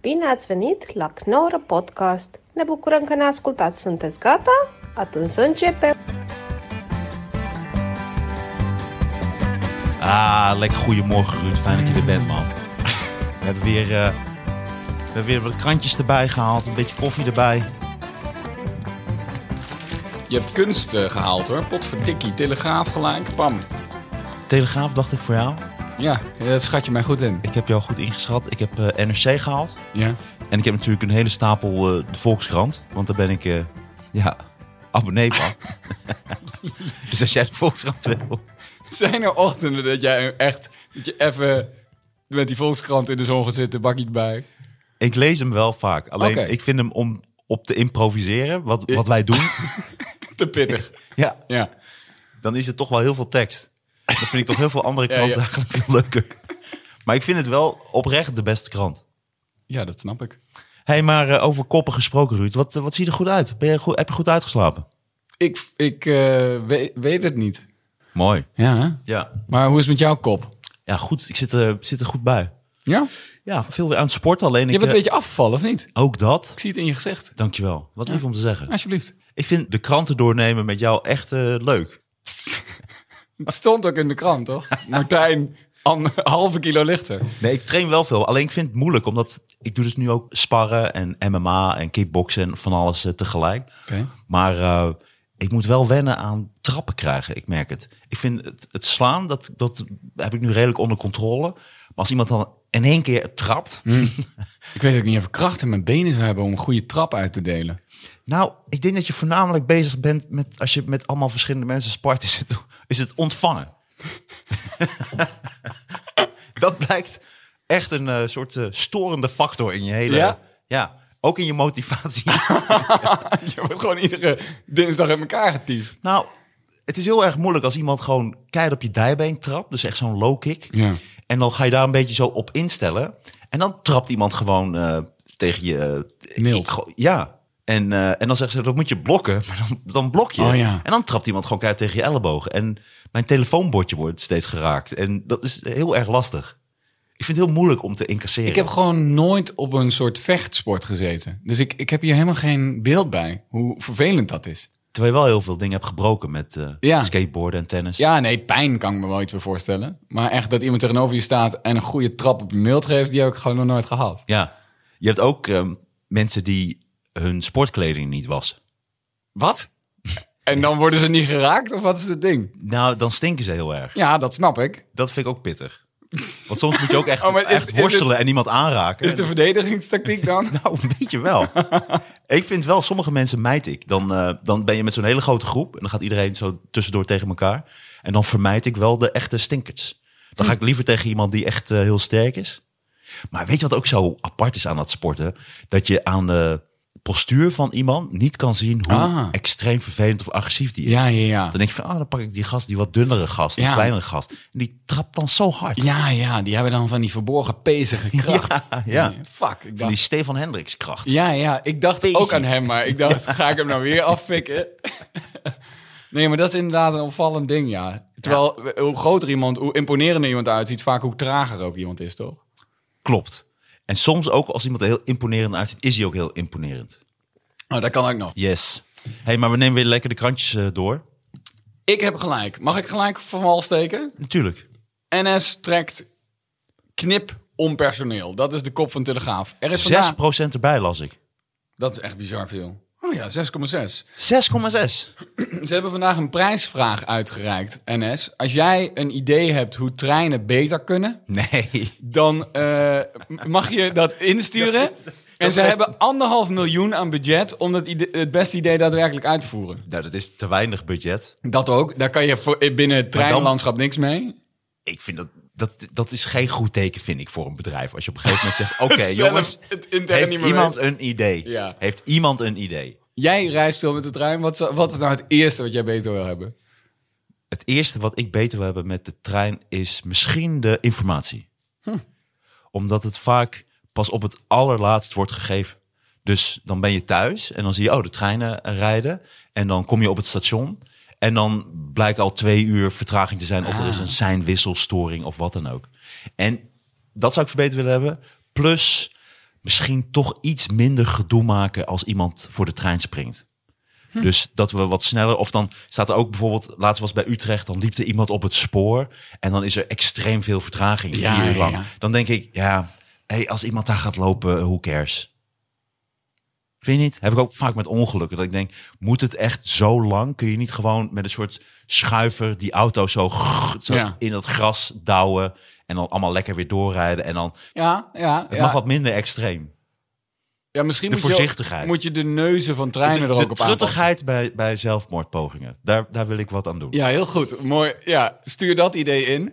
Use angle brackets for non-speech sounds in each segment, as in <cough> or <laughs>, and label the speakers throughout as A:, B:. A: Bine ați venit la Knorr Podcast! Ne bucurăm că ne ascultați! Sunteți gata? Atunci să începem!
B: Ah, lekker goedemorgen Ruud. Fijn dat je er bent, man. We hebben weer, eh, we hebben weer wat krantjes erbij gehaald. Een beetje koffie erbij.
C: Je hebt kunst eh, gehaald hoor. Potverdikkie, telegraaf gelijk, pam.
B: Telegraaf dacht ik voor jou.
C: Ja, dat schat je mij goed in.
B: Ik heb jou goed ingeschat. Ik heb eh, NRC gehaald.
C: Ja.
B: En ik heb natuurlijk een hele stapel eh, de Volkskrant. Want daar ben ik eh, ja, abonnee van. <laughs> dus als jij de Volkskrant wil...
C: Zijn er ochtenden dat jij echt, dat je even met die Volkskrant in de zon gaat zitten, bakkie erbij? <laughs>
B: Ik lees hem wel vaak. Alleen
C: Oké.
B: ik vind hem om op te improviseren, wat, wat wij doen.
C: Te pittig.
B: ja,
C: Ja.
B: dan is het toch wel heel veel tekst. Dan vind ik toch heel veel andere
C: <laughs> Ja,
B: kranten
C: ja.
B: eigenlijk veel leuker. Maar ik vind het wel oprecht de beste krant.
C: Ja, dat snap ik.
B: hey, maar eh, over koppen gesproken, Ruud. Wat, eh, wat ziet er goed uit? Ben je goed, heb je goed uitgeslapen?
C: Ik, ik eh, weet, weet het niet.
B: Mooi.
C: Ja, hè?
B: Ja,
C: maar hoe is het met jouw kop?
B: ja goed. Ik zit, er- zit er goed bij.
C: Ja?
B: Ja, veel weer aan het sporten. Alleen
C: Je
B: ik,
C: bent een
B: eh,
C: beetje afgevallen, of niet?
B: ook dat.
C: Ik zie het in je gezicht.
B: Dankjewel. Wat lief om te zeggen.
C: Alsjeblieft.
B: Ik vind de kranten doornemen met jou echt eh, leuk.
C: Het stond ook in de krant, toch? Martijn, an- <laughs> halve kilo lichter.
B: Nee, ik train wel veel. Alleen ik vind het moeilijk, omdat ik doe dus nu ook sparren en MMA en kickboksen en van alles eh, tegelijk.
C: Oké.
B: Maar eh, ik moet wel wennen aan trappen krijgen. Ik merk het. Ik vind het, het slaan, dat, dat heb ik nu redelijk onder controle. Maar als iemand dan in één keer trapt.
C: Ik weet ook niet of ik kracht in mijn benen zou hebben om een goede trap uit te delen.
B: Nou, ik denk dat je voornamelijk bezig bent met. Als je met allemaal verschillende mensen spart, is het, is het ontvangen. <laughs> dat blijkt echt een eh, soort eh, storende factor in je hele.
C: Ja?
B: ja ook in je motivatie.
C: <laughs> Je wordt gewoon iedere dinsdag in elkaar getiefd.
B: Nou, het is heel erg moeilijk als iemand gewoon keihard op je dijbeen trapt. Dus echt zo'n low kick.
C: Ja.
B: En dan ga je daar een beetje zo op instellen. En dan trapt iemand gewoon eh, tegen je... eh,
C: Mild.
B: ik go- ja. En, eh, en dan zeggen ze, dat moet je blokken. <laughs> Maar dan, dan blok je.
C: Oh, ja.
B: En dan trapt iemand gewoon keihard tegen je elleboog. En mijn telefoonbordje wordt steeds geraakt. En dat is heel erg lastig. Ik vind het heel moeilijk om te incasseren.
C: Ik heb gewoon nooit op een soort vechtsport gezeten. Dus ik, ik heb hier helemaal geen beeld bij hoe vervelend dat is.
B: Terwijl je wel heel veel dingen hebt gebroken met eh,
C: Ja.
B: skateboarden en tennis.
C: Ja, nee, pijn kan ik me wel iets bij voorstellen. Maar echt dat iemand tegenover je staat en een goede trap op je mild geeft, die heb ik gewoon nog nooit gehad.
B: Ja. Je hebt ook ehm, mensen die hun sportkleding niet wassen.
C: Wat? En dan worden ze niet geraakt of wat is het ding?
B: Nou, dan stinken ze heel erg.
C: Ja, dat snap ik.
B: Dat vind ik ook pittig. Want soms moet je ook echt,
C: <laughs> Oh, maar is-
B: echt
C: is het-
B: worstelen en iemand aanraken.
C: Is de verdedigingstactiek dan?
B: <laughs> Nou, een beetje wel. ik vind wel, sommige mensen mijt ik. Dan, eh, dan ben je met zo'n hele grote groep en dan gaat iedereen zo tussendoor tegen elkaar. En dan vermijd ik wel de echte stinkers. Dan ga ik liever tegen iemand die echt eh, heel sterk is. Maar weet je wat ook zo apart is aan dat sporten? Dat je aan de postuur van iemand niet kan zien hoe
C: Ah.
B: extreem vervelend of agressief die is.
C: Ja, ja, ja.
B: Dan denk je van, ah, dan pak ik die gast, die wat dunnere gast, die
C: Ja.
B: kleinere gast. En die trapt dan zo hard.
C: Ja, ja, die hebben dan van die verborgen pezige kracht.
B: Ja, ja.
C: Fuck, ik
B: Van
C: dacht,
B: die Stefan Hendricks kracht.
C: Ja, ja, ik dacht
B: Deze.
C: ook aan hem, maar ik <laughs> dacht, ga ik hem nou weer afpikken? Nee, maar dat is inderdaad een opvallend ding, ja. Terwijl, hoe groter iemand, hoe imponerender iemand uitziet, vaak hoe trager ook iemand is, toch?
B: Klopt. En soms ook als iemand er heel imponerend uitziet, is hij ook heel imponerend.
C: Oh, dat kan ook nog.
B: Yes. hey, maar we nemen weer lekker de krantjes eh, door.
C: Ik heb gelijk. Mag ik gelijk van wal steken?
B: Natuurlijk.
C: NS trekt knip om personeel. Dat is de kop van Telegraaf. Er
B: 6%
C: is vandaag...
B: erbij las ik. 6,6.
C: Dat is echt bizar veel. Oh ja, 6,6.
B: Ze
C: Ze hebben vandaag een prijsvraag uitgereikt, NS. Als jij een idee hebt hoe treinen beter kunnen...
B: Nee.
C: dan eh, m- mag je dat
B: <laughs>
C: insturen. En ze hebben anderhalf miljoen aan budget om dat ide- het beste idee daadwerkelijk uit te voeren.
B: Nou, dat is te weinig budget.
C: Dat ook. Daar kan je voor, eh, binnen het treinlandschap niks mee.
B: Ik vind dat, dat, dat is geen goed teken, vind ik, voor een bedrijf. Als je op een gegeven
C: <laughs>
B: moment zegt, oké
C: Zelf
B: jongens,
C: het intern
B: heeft
C: niet meer
B: iemand
C: weet.
B: een idee?
C: Ja.
B: Heeft iemand een idee?
C: Jij reist veel met de trein. Wat, zou- wat is nou het eerste wat jij beter wil hebben?
B: Het eerste wat ik beter wil hebben met de trein is misschien de informatie. Omdat het vaak pas op het allerlaatst wordt gegeven. Dus dan ben je thuis en dan zie je, oh, de treinen rijden. En dan kom je op het station. En dan blijkt al twee uur vertraging te zijn. Of er is een seinwisselstoring of wat dan ook. En dat zou ik verbeterd willen hebben. Plus misschien toch iets minder gedoe maken als iemand voor de trein springt.
C: Hm.
B: Dus dat we wat sneller, of dan staat er ook bijvoorbeeld, laatst was bij Utrecht, dan liep er iemand op het spoor en dan is er extreem veel vertraging,
C: Ja,
B: vier uur
C: ja,
B: lang.
C: ja.
B: Dan denk ik, ja, hey, als iemand daar gaat lopen, who cares? Vind je niet? Heb ik ook vaak met ongelukken, dat ik denk, moet het echt zo lang? Kun je niet gewoon met een soort schuiver die auto zo, zo
C: Ja.
B: in dat gras douwen en dan allemaal lekker weer doorrijden en dan,
C: Ja, ja.
B: het
C: ja.
B: mag wat minder extreem.
C: ja misschien
B: de
C: moet je ook-
B: voorzichtigheid.
C: moet je de neuzen van treinen
B: de
C: er ook
B: de
C: op aanpassen.
B: truttigheid bij, bij zelfmoordpogingen, daar, daar wil ik wat aan doen.
C: Ja, heel goed. Mooi. Ja, stuur dat idee in.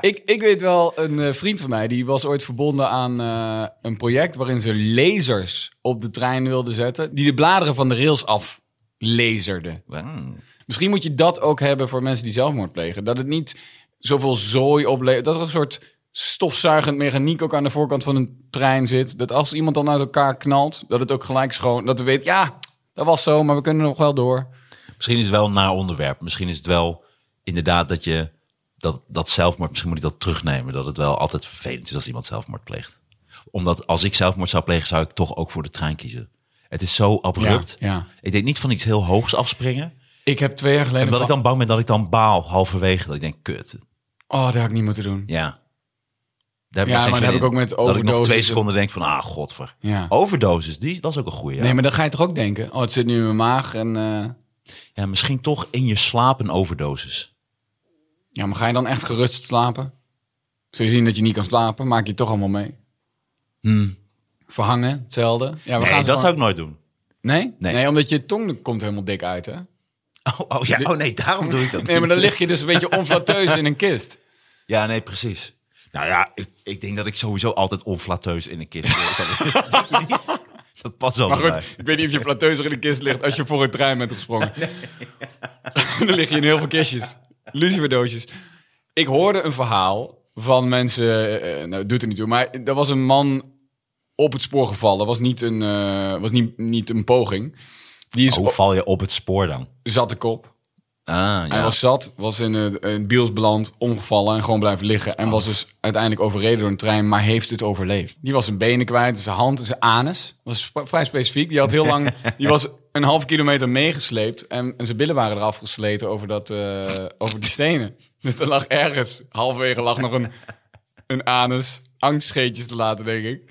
C: Ik, ik weet wel, een eh, vriend van mij, die was ooit verbonden aan eh, een project waarin ze lasers op de trein wilden zetten, die de bladeren van de rails af laserden.
B: Wow.
C: Misschien moet je dat ook hebben voor mensen die zelfmoord plegen. Dat het niet zoveel zooi oplevert. Dat er een soort stofzuigend mechaniek ook aan de voorkant van een trein zit. Dat als iemand dan uit elkaar knalt, dat het ook gelijk schoon... Dat we weten, ja, dat was zo, maar we kunnen nog wel door.
B: Misschien is het wel een naar onderwerp. Misschien is het wel inderdaad dat je dat, dat zelfmoord, misschien moet ik dat terugnemen. Dat het wel altijd vervelend is als iemand zelfmoord pleegt. Omdat als ik zelfmoord zou plegen, zou ik toch ook voor de trein kiezen. Het is zo abrupt.
C: Ja, ja.
B: Ik denk niet van iets heel hoogs afspringen.
C: Ik heb twee jaar geleden...
B: En dat ik
C: van-
B: dan bang ben dat ik dan baal halverwege. Dat ik denk, kut.
C: Oh, dat had ik niet moeten doen.
B: Ja. Daar
C: Ja,
B: ik geen
C: maar
B: zin
C: dat heb ik
B: in.
C: ook met
B: Dat ik nog
C: overdoses
B: twee
C: en-
B: seconden denk van, ah, godver.
C: Ja.
B: Overdosis, die, dat is ook een goeie. ja.
C: Nee, maar dan ga je toch ook denken, oh, het zit nu in mijn maag en... eh,
B: ja, misschien toch in je slaap een overdosis.
C: ja, maar ga je dan echt gerust slapen? Zul je zien dat je niet kan slapen, maak je het toch allemaal mee. Verhangen, hetzelfde. Ja, we gaan
B: Hmm. Nee,
C: ze
B: dat
C: gewoon-
B: zou ik nooit doen.
C: Nee?
B: Nee.
C: nee? omdat je tong komt helemaal dik uit, hè?
B: Oh, oh, ja. oh nee, daarom doe ik dat
C: Nee, maar
B: niet.
C: dan lig je dus een beetje onflateus in een kist.
B: Ja, nee, precies. Nou ja, ik, ik denk dat ik sowieso altijd onflateus in een kist wil. Zal ik- Denk je
C: <laughs>
B: niet? Dat past wel
C: Maar
B: bij
C: goed,
B: mij.
C: ik weet niet of je flateuzer in een kist ligt als je voor een trein bent gesprongen. <laughs> dan lig je in heel veel kistjes. Luciferdoosjes. Ik hoorde een verhaal van mensen... eh, nou, het doet er niet toe. Maar er was een man op het spoor gevallen. Was niet een, eh, was niet, niet een poging. Die is
B: Hoe val je op het spoor dan?
C: zat de kop.
B: Ah, ja.
C: Hij was zat, was in het, in het Biels beland, omgevallen en gewoon blijven liggen.
B: Oh.
C: En was dus uiteindelijk overreden door een trein, maar heeft het overleefd. Die was zijn benen kwijt, zijn hand en zijn anus. Was sp- vrij specifiek. Die had heel
B: <laughs>
C: lang, die was een half kilometer meegesleept. En, en zijn billen waren eraf gesleten over, dat, eh, over die stenen. <laughs> Dus er lag ergens, halverwege lag nog een, een anus. Angstscheetjes te laten, denk ik.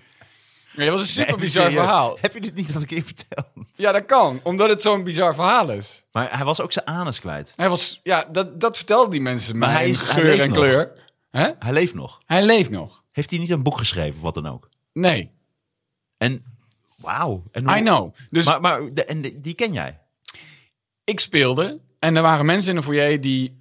C: Ja, dat was een super bizar
B: Serieus.
C: verhaal.
B: Heb je dit niet al een keer verteld?
C: Ja, dat kan, omdat het zo'n bizar verhaal is.
B: Maar hij was ook zijn anus kwijt.
C: Hij was, ja, dat, dat vertelden die mensen maar
B: hij
C: hij
B: is- hij
C: geur
B: leeft
C: en
B: nog.
C: kleur. Hè?
B: Hij leeft nog.
C: Hij leeft nog.
B: Heeft hij niet een boek geschreven of wat dan ook?
C: Nee,
B: En wauw. En hoe-
C: I know. Dus
B: Maar, maar de- en de- die ken jij?
C: ik speelde en er waren mensen in de foyer die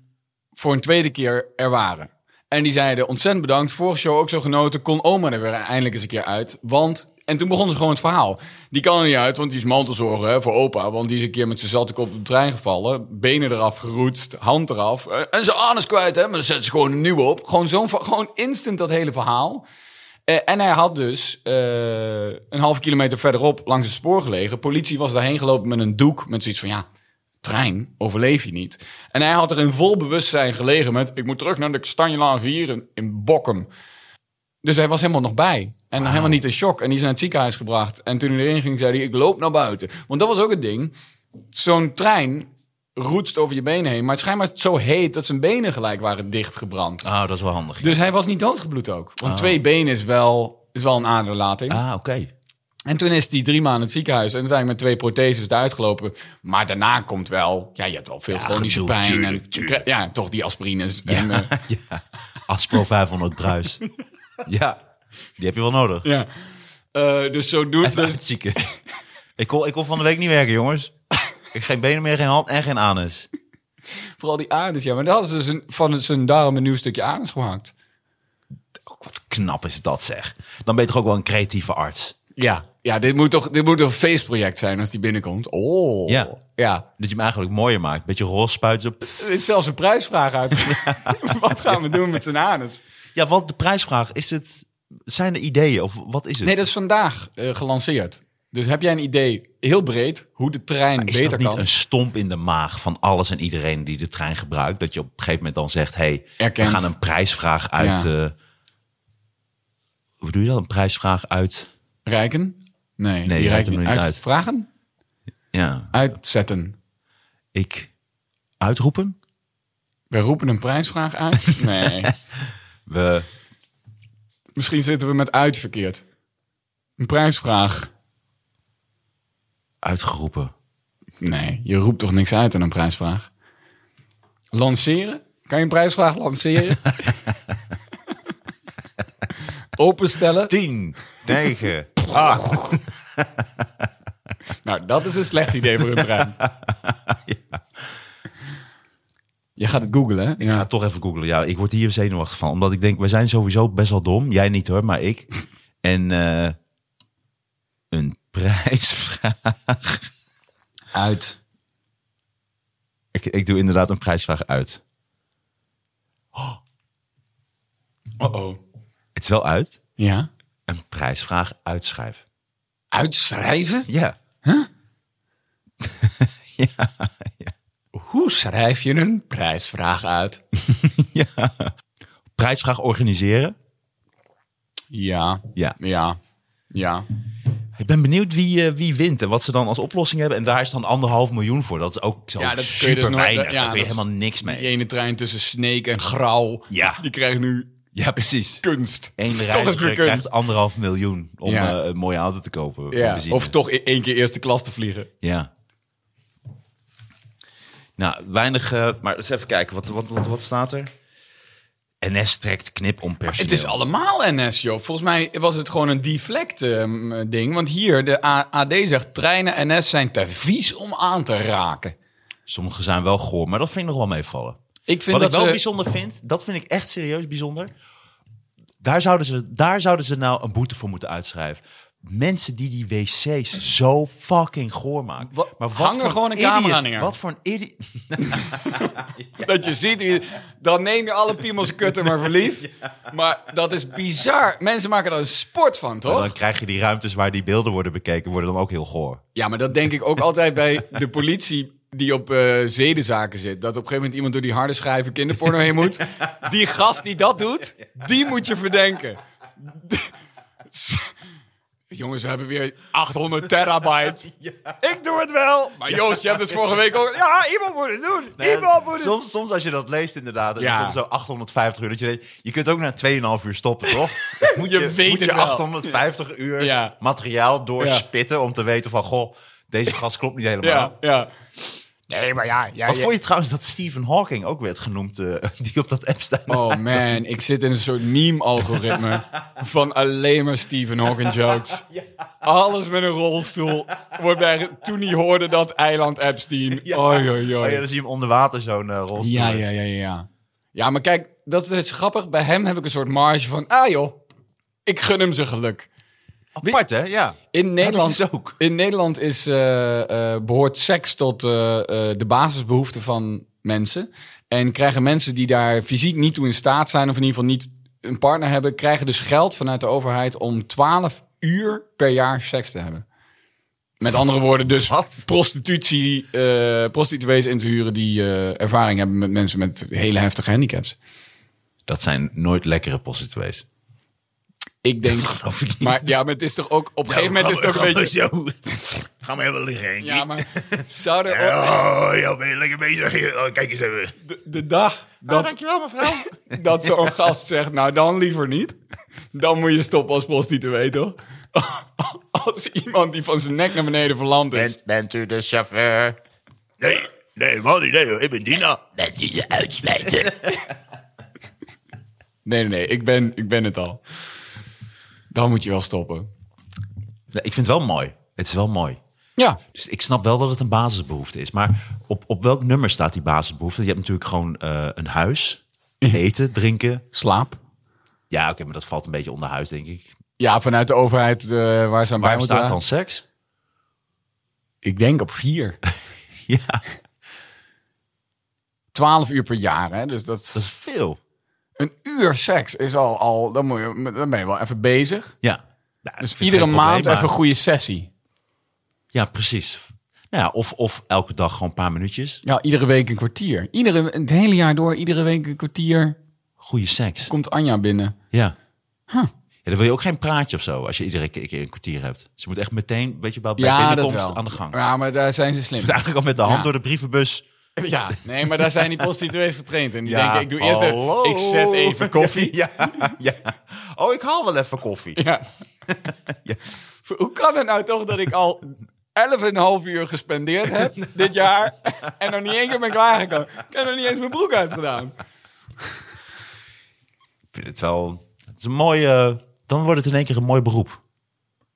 C: voor een tweede keer er waren. En die zeiden ontzettend bedankt, vorige show ook zo genoten, kon oma er weer eindelijk eens een keer uit. Want, en toen begon ze gewoon het verhaal. Die kan er niet uit, want die is mantelzorger hè, voor opa. Want die is een keer met zijn zatte kop op de trein gevallen, benen eraf geroetst, hand eraf. eh, En zijn anus kwijt, hè, maar dan zetten ze gewoon een nieuwe op. Gewoon, zo'n, ver- gewoon instant dat hele verhaal. Eh, en hij had dus eh, een halve kilometer verderop langs het spoor gelegen. Politie was daarheen gelopen met een doek. Met zoiets van, ja, trein, overleef je niet. En hij had er in vol bewustzijn gelegen met... ik moet terug naar de Kastanjelaan 4 in, in Bokkum. Dus hij was helemaal nog bij. En helemaal niet in shock. En die is naar het ziekenhuis gebracht. En toen hij erin ging, zei hij, ik loop naar buiten. Want dat was ook het ding. Zo'n trein roetst over je benen heen. Maar het schijnbaar is het zo heet dat zijn benen gelijk waren dichtgebrand.
B: Oh, dat is wel handig.
C: Dus hij was niet doodgebloed ook. Want twee benen is wel, is wel een aderlating.
B: Oh. Ah, oké.
C: En toen is hij drie maanden in het ziekenhuis. En uiteindelijk met twee protheses eruit gelopen. Maar daarna komt wel... Ja, je hebt wel veel chronische
B: gedoe,
C: pijn.
B: tuurlijk,
C: en,
B: tuurlijk.
C: Ja, toch die aspirines. En, eh,
B: Ja, <laughs> ja. Aspro 500
C: <laughs>
B: bruis. ja, die heb je wel nodig.
C: ja. Eh, dus zo doet...
B: Even uit
C: Dus,
B: het zieken. <laughs> ik, kon, ik kon van de week niet werken, jongens. Ik geen benen meer, geen hand en geen anus.
C: vooral die anus. Ja, maar dat hadden ze dus een, van zijn darm een nieuw stukje anus gemaakt.
B: Ook Wat knap is dat zeg. Dan ben je toch ook wel een creatieve arts.
C: Ja. Ja, dit moet toch, dit moet toch een feestproject zijn als die binnenkomt. Oh.
B: Ja.
C: Ja.
B: Dat je hem eigenlijk mooier maakt. Beetje roze spuiten. zo.
C: Er is zelfs een prijsvraag
B: <laughs>
C: uit. Wat gaan we doen met zijn anus?
B: Ja, want de prijsvraag is het... Zijn er ideeën of wat is het?
C: Nee, dat is vandaag eh, gelanceerd. Dus heb jij een idee, heel breed, hoe de trein
B: is
C: beter
B: dat niet
C: kan?
B: een stomp in de maag van alles en iedereen die de trein gebruikt? Dat je op een gegeven moment dan zegt, hey,
C: Erkend.
B: we gaan een prijsvraag uit...
C: Ja.
B: eh, hoe doe je dat? Een prijsvraag uit...
C: Rijken? Nee,
B: je
C: die
B: reikt
C: rijkt
B: hem
C: niet
B: er niet
C: uit.
B: uit.
C: Vragen?
B: Ja.
C: Uitzetten.
B: Ik uitroepen.
C: We roepen een prijsvraag
B: <laughs>
C: uit? Nee.
B: We,
C: Misschien zitten we met uit verkeerd. Een prijsvraag?
B: uitgeroepen.
C: Nee, je roept toch niks uit aan een prijsvraag? Lanceren? Kan je een prijsvraag
B: <laughs>
C: lanceren? Openstellen?
B: 10, 9.
C: Nou, dat is een slecht idee voor een
B: <laughs>
C: trein. Je gaat het googlen, hè?
B: Ik ga toch even googlen. Ja, ik word hier zenuwachtig van. Omdat ik denk, we zijn sowieso best wel dom. Jij niet hoor, maar ik. En eh, een <laughs> prijsvraag.
C: Uit.
B: Ik, ik doe inderdaad een prijsvraag uit.
C: Oh-oh.
B: Het is wel uit.
C: Ja?
B: Een prijsvraag uitschrijven.
C: Uitschrijven?
B: Ja. <laughs>
C: Hoe schrijf je een prijsvraag uit?
B: ja. Prijsvraag organiseren.
C: Ja.
B: Ja.
C: Ja. Ja.
B: Ik ben benieuwd wie, eh, wie wint en wat ze dan als oplossing hebben. En daar is dan anderhalf miljoen voor. Dat is ook zo
C: Ja, dat kun je
B: super
C: dus nooit-
B: weinig. daar
C: ja,
B: kun je
C: dat is-
B: helemaal niks mee.
C: Die ene trein tussen Snake en Grauw.
B: Ja.
C: Die krijgt nu
B: Ja, precies.
C: kunst.
B: Eén
C: <laughs> Toch eens
B: reiziger
C: weer
B: krijgt anderhalf miljoen om
C: Ja.
B: eh, een mooie auto te kopen.
C: Ja.
B: Benzine.
C: Of toch i- één keer eerste klas te vliegen.
B: Ja. Nou, weinig... eh, maar eens even kijken, wat, wat, wat, wat staat er? NS trekt knip om personeel.
C: Het is allemaal NS, Joop. Volgens mij was het gewoon een deflect ehm, eh, ding. Want hier, de A- AD zegt, treinen NS zijn te vies om aan te raken.
B: Sommige zijn wel goor, maar dat vind ik nog wel meevallen.
C: Ik vind
B: Wat
C: dat
B: ik wel
C: ze-
B: bijzonder vind, dat vind ik echt serieus bijzonder. Daar zouden, ze, daar zouden ze nou een boete voor moeten uitschrijven. Mensen die die wc's zo fucking goor maken.
C: Wa- hang er
B: voor
C: gewoon een
B: idiot-
C: camera neer.
B: Wat voor een idiot.
C: Dat je ziet, wie- dan neem je alle piemels kutten maar voor
B: <laughs>
C: lief. Maar dat is bizar. Mensen maken daar een sport van,
B: Maar
C: toch?
B: Nou, Dan krijg je die ruimtes waar die beelden worden bekeken, worden dan ook heel goor.
C: Ja, maar dat denk ik ook altijd bij de politie die op eh, zedenzaken zit. Dat op een gegeven moment iemand door die harde schijven kinderporno heen moet. Die gast die dat doet, die moet je verdenken. Jongens, we hebben weer 800 terabyte. Ik doe het wel. Maar Joost, je hebt het vorige week ook... Ja, iemand moet het doen. iemand moet het doen.
B: soms, soms als je dat leest inderdaad, en
C: Ja.
B: dan zo 850 uur. Dat je, denkt, je kunt ook na 2,5 uur stoppen,
C: <laughs>
B: toch? Dan Moet
C: Je weet
B: moet
C: het
B: je
C: wel.
B: 850 uur
C: Ja.
B: materiaal doorspitten om te weten van... Goh, deze gast klopt niet helemaal.
C: Ja, ja. Nee, maar ja... ja
B: Wat
C: ja.
B: vond je trouwens dat Stephen Hawking ook werd genoemd, eh, <laughs> die op dat app staat? <laughs>
C: Oh man, ik zit in een soort meme-algoritme van alleen maar Stephen Hawking
B: <laughs>
C: jokes. Alles met een rolstoel. Wordt bij, toen hij hoorde dat eiland Epstein. Oei, oei,
B: Oh
C: oei.
B: ja, dan zie je hem onder water zo'n eh, rolstoel.
C: Ja, ja, ja, ja, ja. Ja, maar kijk, dat is dus grappig. Bij hem heb ik een soort marge van, ah joh, ik gun hem zijn geluk.
B: Apart, hè? Ja.
C: In Nederland,
B: is ook.
C: In Nederland is, eh, eh, behoort seks tot eh, eh, de basisbehoeften van mensen. En krijgen mensen die daar fysiek niet toe in staat zijn, of in ieder geval niet een partner hebben, krijgen dus geld vanuit de overheid om 12 uur per jaar seks te hebben. Met andere woorden, dus
B: Wat?
C: prostitutie, eh, prostituees in te huren die eh, ervaring hebben met mensen met hele heftige handicaps.
B: Dat zijn nooit lekkere prostituees.
C: Ik denk.
B: geloof ik niet.
C: Maar ja, maar het is toch ook. Op een gegeven moment is het ook een beetje.
B: Oh, Ga maar even liggen, Henkie.
C: Ja, maar zouden.
B: Oh, ja, ben je lekker bezig? Oh, kijk eens even.
C: de, de dag
B: Oh,
C: dat,
B: dankjewel, mevrouw. <laughs>
C: dat zo'n gast zegt, nou dan liever niet. Dan moet je stoppen als prostituee, toch? <laughs> Als iemand die van zijn nek naar beneden verlamd is.
D: bent u de chauffeur?
B: Nee, nee, man, nee, hoor. ik ben Dina.
D: Bent u de uitsmijter?
C: Nee, nee, nee, ik ben, ik ben het al. Dan moet je wel stoppen.
B: ik vind het wel mooi. Het is wel mooi.
C: Ja,
B: Dus ik snap wel dat het een basisbehoefte is. Maar op, op welk nummer staat die basisbehoefte? Je hebt natuurlijk gewoon eh, een huis, eten, drinken.
C: slaap.
B: Ja, oké, maar dat valt een beetje onder huis, denk ik.
C: Ja, vanuit de overheid eh, waar ze aan bij
B: Waarom
C: moeten
B: staat dan
C: dragen.
B: seks?
C: Ik denk op vier. <laughs>
B: Ja,
C: Twaalf uur per jaar, hè. Dus dat
B: dat
C: is
B: is veel.
C: een uur seks is al... al dan, moet je, dan ben je wel even bezig.
B: Ja. Nou, dat
C: Dus
B: vind ik
C: iedere
B: geen probleem,
C: maand
B: maar-
C: even een goede sessie.
B: Ja, precies. Nou ja, of, of elke dag gewoon een paar minuutjes.
C: Ja, iedere week een kwartier. Iedere, het hele jaar door, iedere week een kwartier
B: Goede seks.
C: komt Anja binnen.
B: Ja. dan wil je ook geen praatje of zo als je iedere keer een kwartier hebt. Dus je moet echt meteen, weet je wel, bij
C: Ja, dat
B: binnenkomst
C: wel.
B: aan de gang. Je
C: Ja, maar daar zijn ze
B: <laughs>
C: slim.
B: moet <laughs> eigenlijk al met de hand
C: Ja.
B: door de brievenbus.
C: Ja, nee, maar daar
B: <laughs>
C: zijn die prostituees getraind. En die
B: Ja,
C: denken, ik doe eerst
B: hallo.
C: even, ik zet even
B: <laughs>
C: koffie.
B: ja, ja. Oh, ik haal wel even koffie.
C: Ja.
B: <laughs> Ja.
C: Hoe kan het nou toch dat ik al 11,5 uur gespendeerd
B: <laughs>
C: heb dit jaar en nog niet één keer ben klaargekomen? Ik heb nog niet eens mijn broek uitgedaan.
B: Ik vind het wel... Het is een mooie... dan wordt het in één keer een mooi beroep.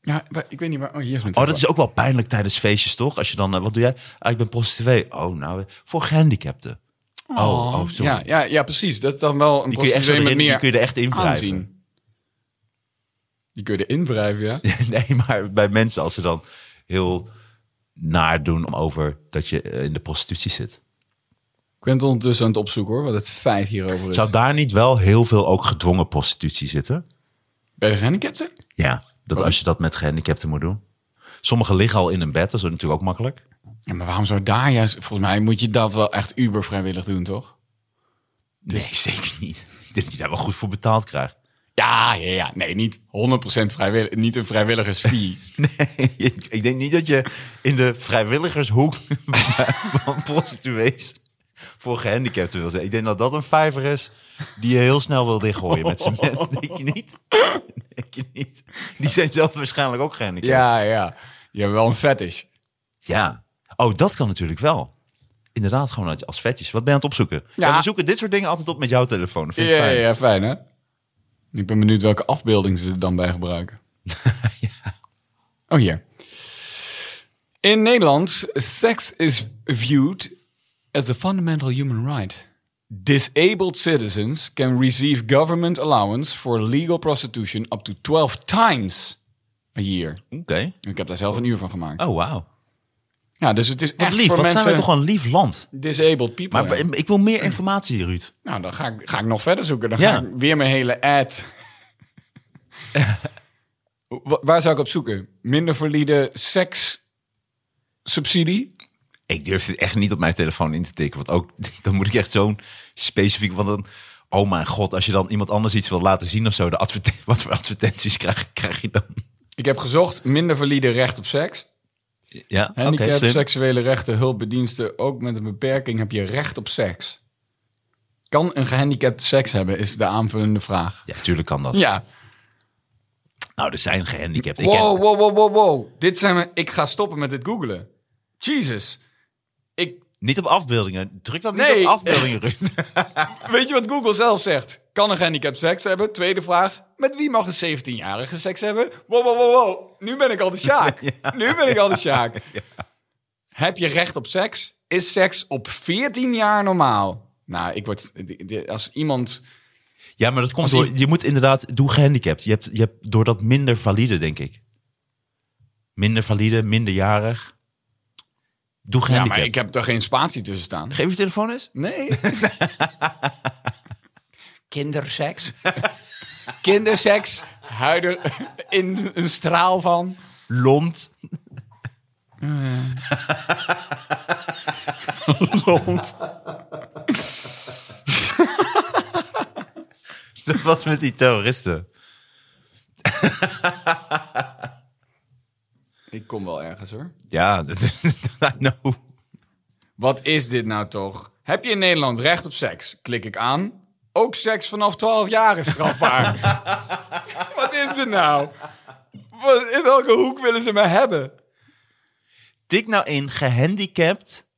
C: Ja, maar ik weet niet waar. Oh, hier is
B: Oh, dat
C: mijn telefoon.
B: is ook wel pijnlijk tijdens feestjes, toch? Als je dan... eh, wat doe jij? Ah, ik ben prostituee. Oh, nou, voor gehandicapten. Oh, oh, sorry.
C: Ja, ja, ja, precies. Dat is dan wel een
B: die kun je echt zo
C: prostituee
B: erin,
C: met
B: die
C: meer
B: kun je er echt in wrijven.
C: aanzien. Die kun je erin wrijven, ja.
B: <laughs> Nee, maar bij mensen als ze dan heel naar doen over dat je eh, in de prostitutie zit.
C: Ik ben het ondertussen aan het opzoeken hoor, wat het feit hierover is.
B: Zou daar niet wel heel veel ook gedwongen prostitutie zitten?
C: Bij de gehandicapten?
B: Ja, dat als je dat met gehandicapten moet doen. Sommigen liggen al in een bed, dat is natuurlijk ook makkelijk.
C: Ja, maar waarom zou daar juist... Volgens mij moet je dat wel echt uber vrijwillig doen, toch?
B: Nee, zeker niet. Ik denk dat je daar wel goed voor betaald krijgt.
C: Ja, ja, ja. Nee, niet 100% vrijwillig. Niet een vrijwilligersfee.
B: <laughs> Nee, ik denk niet dat je in de vrijwilligershoek <laughs> van prostituees voor gehandicapten wil zijn. Ik denk dat dat een vijver is die je heel snel wil dichtgooien met
C: <laughs>
B: z'n mensen. Denk je niet? Denk je niet? Die zijn zelf waarschijnlijk ook gehandicapt.
C: <laughs> ja, ja. Je hebt wel een fetish.
B: Ja. Oh, dat kan natuurlijk wel. Inderdaad, gewoon uit- als vetjes. Wat ben je aan het opzoeken? Ja.
C: Ja.
B: we zoeken dit soort dingen altijd op met jouw telefoon. Dat
C: Ja,
B: vind ik
C: ja,
B: fijn.
C: ja, fijn hè? Ik ben benieuwd welke afbeelding ze er dan bij gebruiken.
B: <laughs>
C: Oh, hier. In Nederland, sex is viewed as a fundamental human right. Disabled citizens can receive government allowance for legal prostitution up to 12 times a year.
B: Oké.
C: Ik heb daar zelf een uur van gemaakt.
B: Oh, wauw.
C: Ja, dus het is
B: Wat
C: echt
B: lief.
C: voor
B: Wat
C: mensen...
B: zijn we toch een lief land.
C: disabled people.
B: Maar
C: ja.
B: ik wil meer informatie, Ruud.
C: Nou, dan ga ik, ga ik nog verder zoeken. Dan
B: Ja.
C: ga ik weer mijn
B: <laughs>
C: hele ad. Wa- Waar zou ik op zoeken? Minder valide sekssubsidie?
B: Ik durf dit echt niet op mijn telefoon in te tikken. Want ook, <laughs> dan moet ik echt zo'n specifiek... Want dan, oh mijn god, als je dan iemand anders iets wil laten zien of zo... De adverte- <laughs> wat voor advertenties krijg, krijg je dan?
C: Ik heb gezocht minder valide recht op seks.
B: Ja, oké,
C: Handicap,
B: slim.
C: seksuele rechten, hulpbediensten. Ook met een beperking heb je recht op seks. Kan een gehandicapte seks hebben, is de aanvullende vraag.
B: Ja, tuurlijk kan dat.
C: Ja.
B: Nou, er zijn gehandicapten. Ik ken-
C: Wow, wow, wow, wow, wow. Dit zijn we... Ik ga stoppen met dit googlen. Jesus. Ik
B: Niet op afbeeldingen. Druk dat niet
C: Nee.
B: op afbeeldingen, Ruud. <laughs>
C: Weet je wat Google zelf zegt? Kan een handicap seks hebben? Tweede vraag. Met wie mag een 17-jarige seks hebben? Wow, wow, wow, wow. Nu ben ik al de Sjaak. Nu ben ik al de Sjaak. Heb je recht op seks? Is seks op 14 jaar normaal? Nou, ik word... d- d- Als iemand...
B: Ja, maar dat komt
C: Als
B: door... Je moet inderdaad... Doe gehandicapt. Je hebt, je hebt door dat minder valide, denk ik. Minder valide, minderjarig. Doe
C: Ja,
B: gehandicapt.
C: maar ik heb er geen spatie tussen staan.
B: Geef je telefoon eens.
C: Nee. Kinderseks. <laughs> Kinderseks. Huider in een straal van...
B: Lont.
C: <laughs> Lont.
B: <laughs> Dat was met die terroristen.
C: Ik kom wel ergens hoor.
B: Ja, dat <laughs> I know.
C: Wat is dit nou toch? Heb je in Nederland recht op seks? Klik ik aan. Ook seks vanaf 12 jaar is strafbaar. <laughs> Wat is dit nou? Wat- in welke hoek willen ze me hebben?
B: Tik nou in gehandicapt,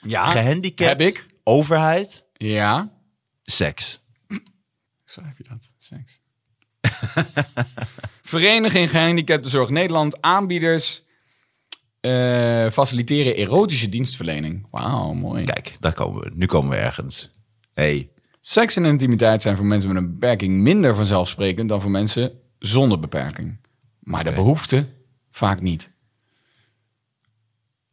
C: Ja.
B: gehandicapt,
C: Ah, heb ik.
B: overheid,
C: Ja.
B: seks.
C: Schrijf je dat? Seks. <laughs> Vereniging Gehandicaptenzorg Nederland. Aanbieders eh, faciliteren erotische dienstverlening. Wauw, mooi.
B: Kijk, daar komen we. Nu komen we ergens. hey,
C: Seks en intimiteit zijn voor mensen met een beperking minder vanzelfsprekend dan voor mensen zonder beperking. Maar de behoefte vaak niet.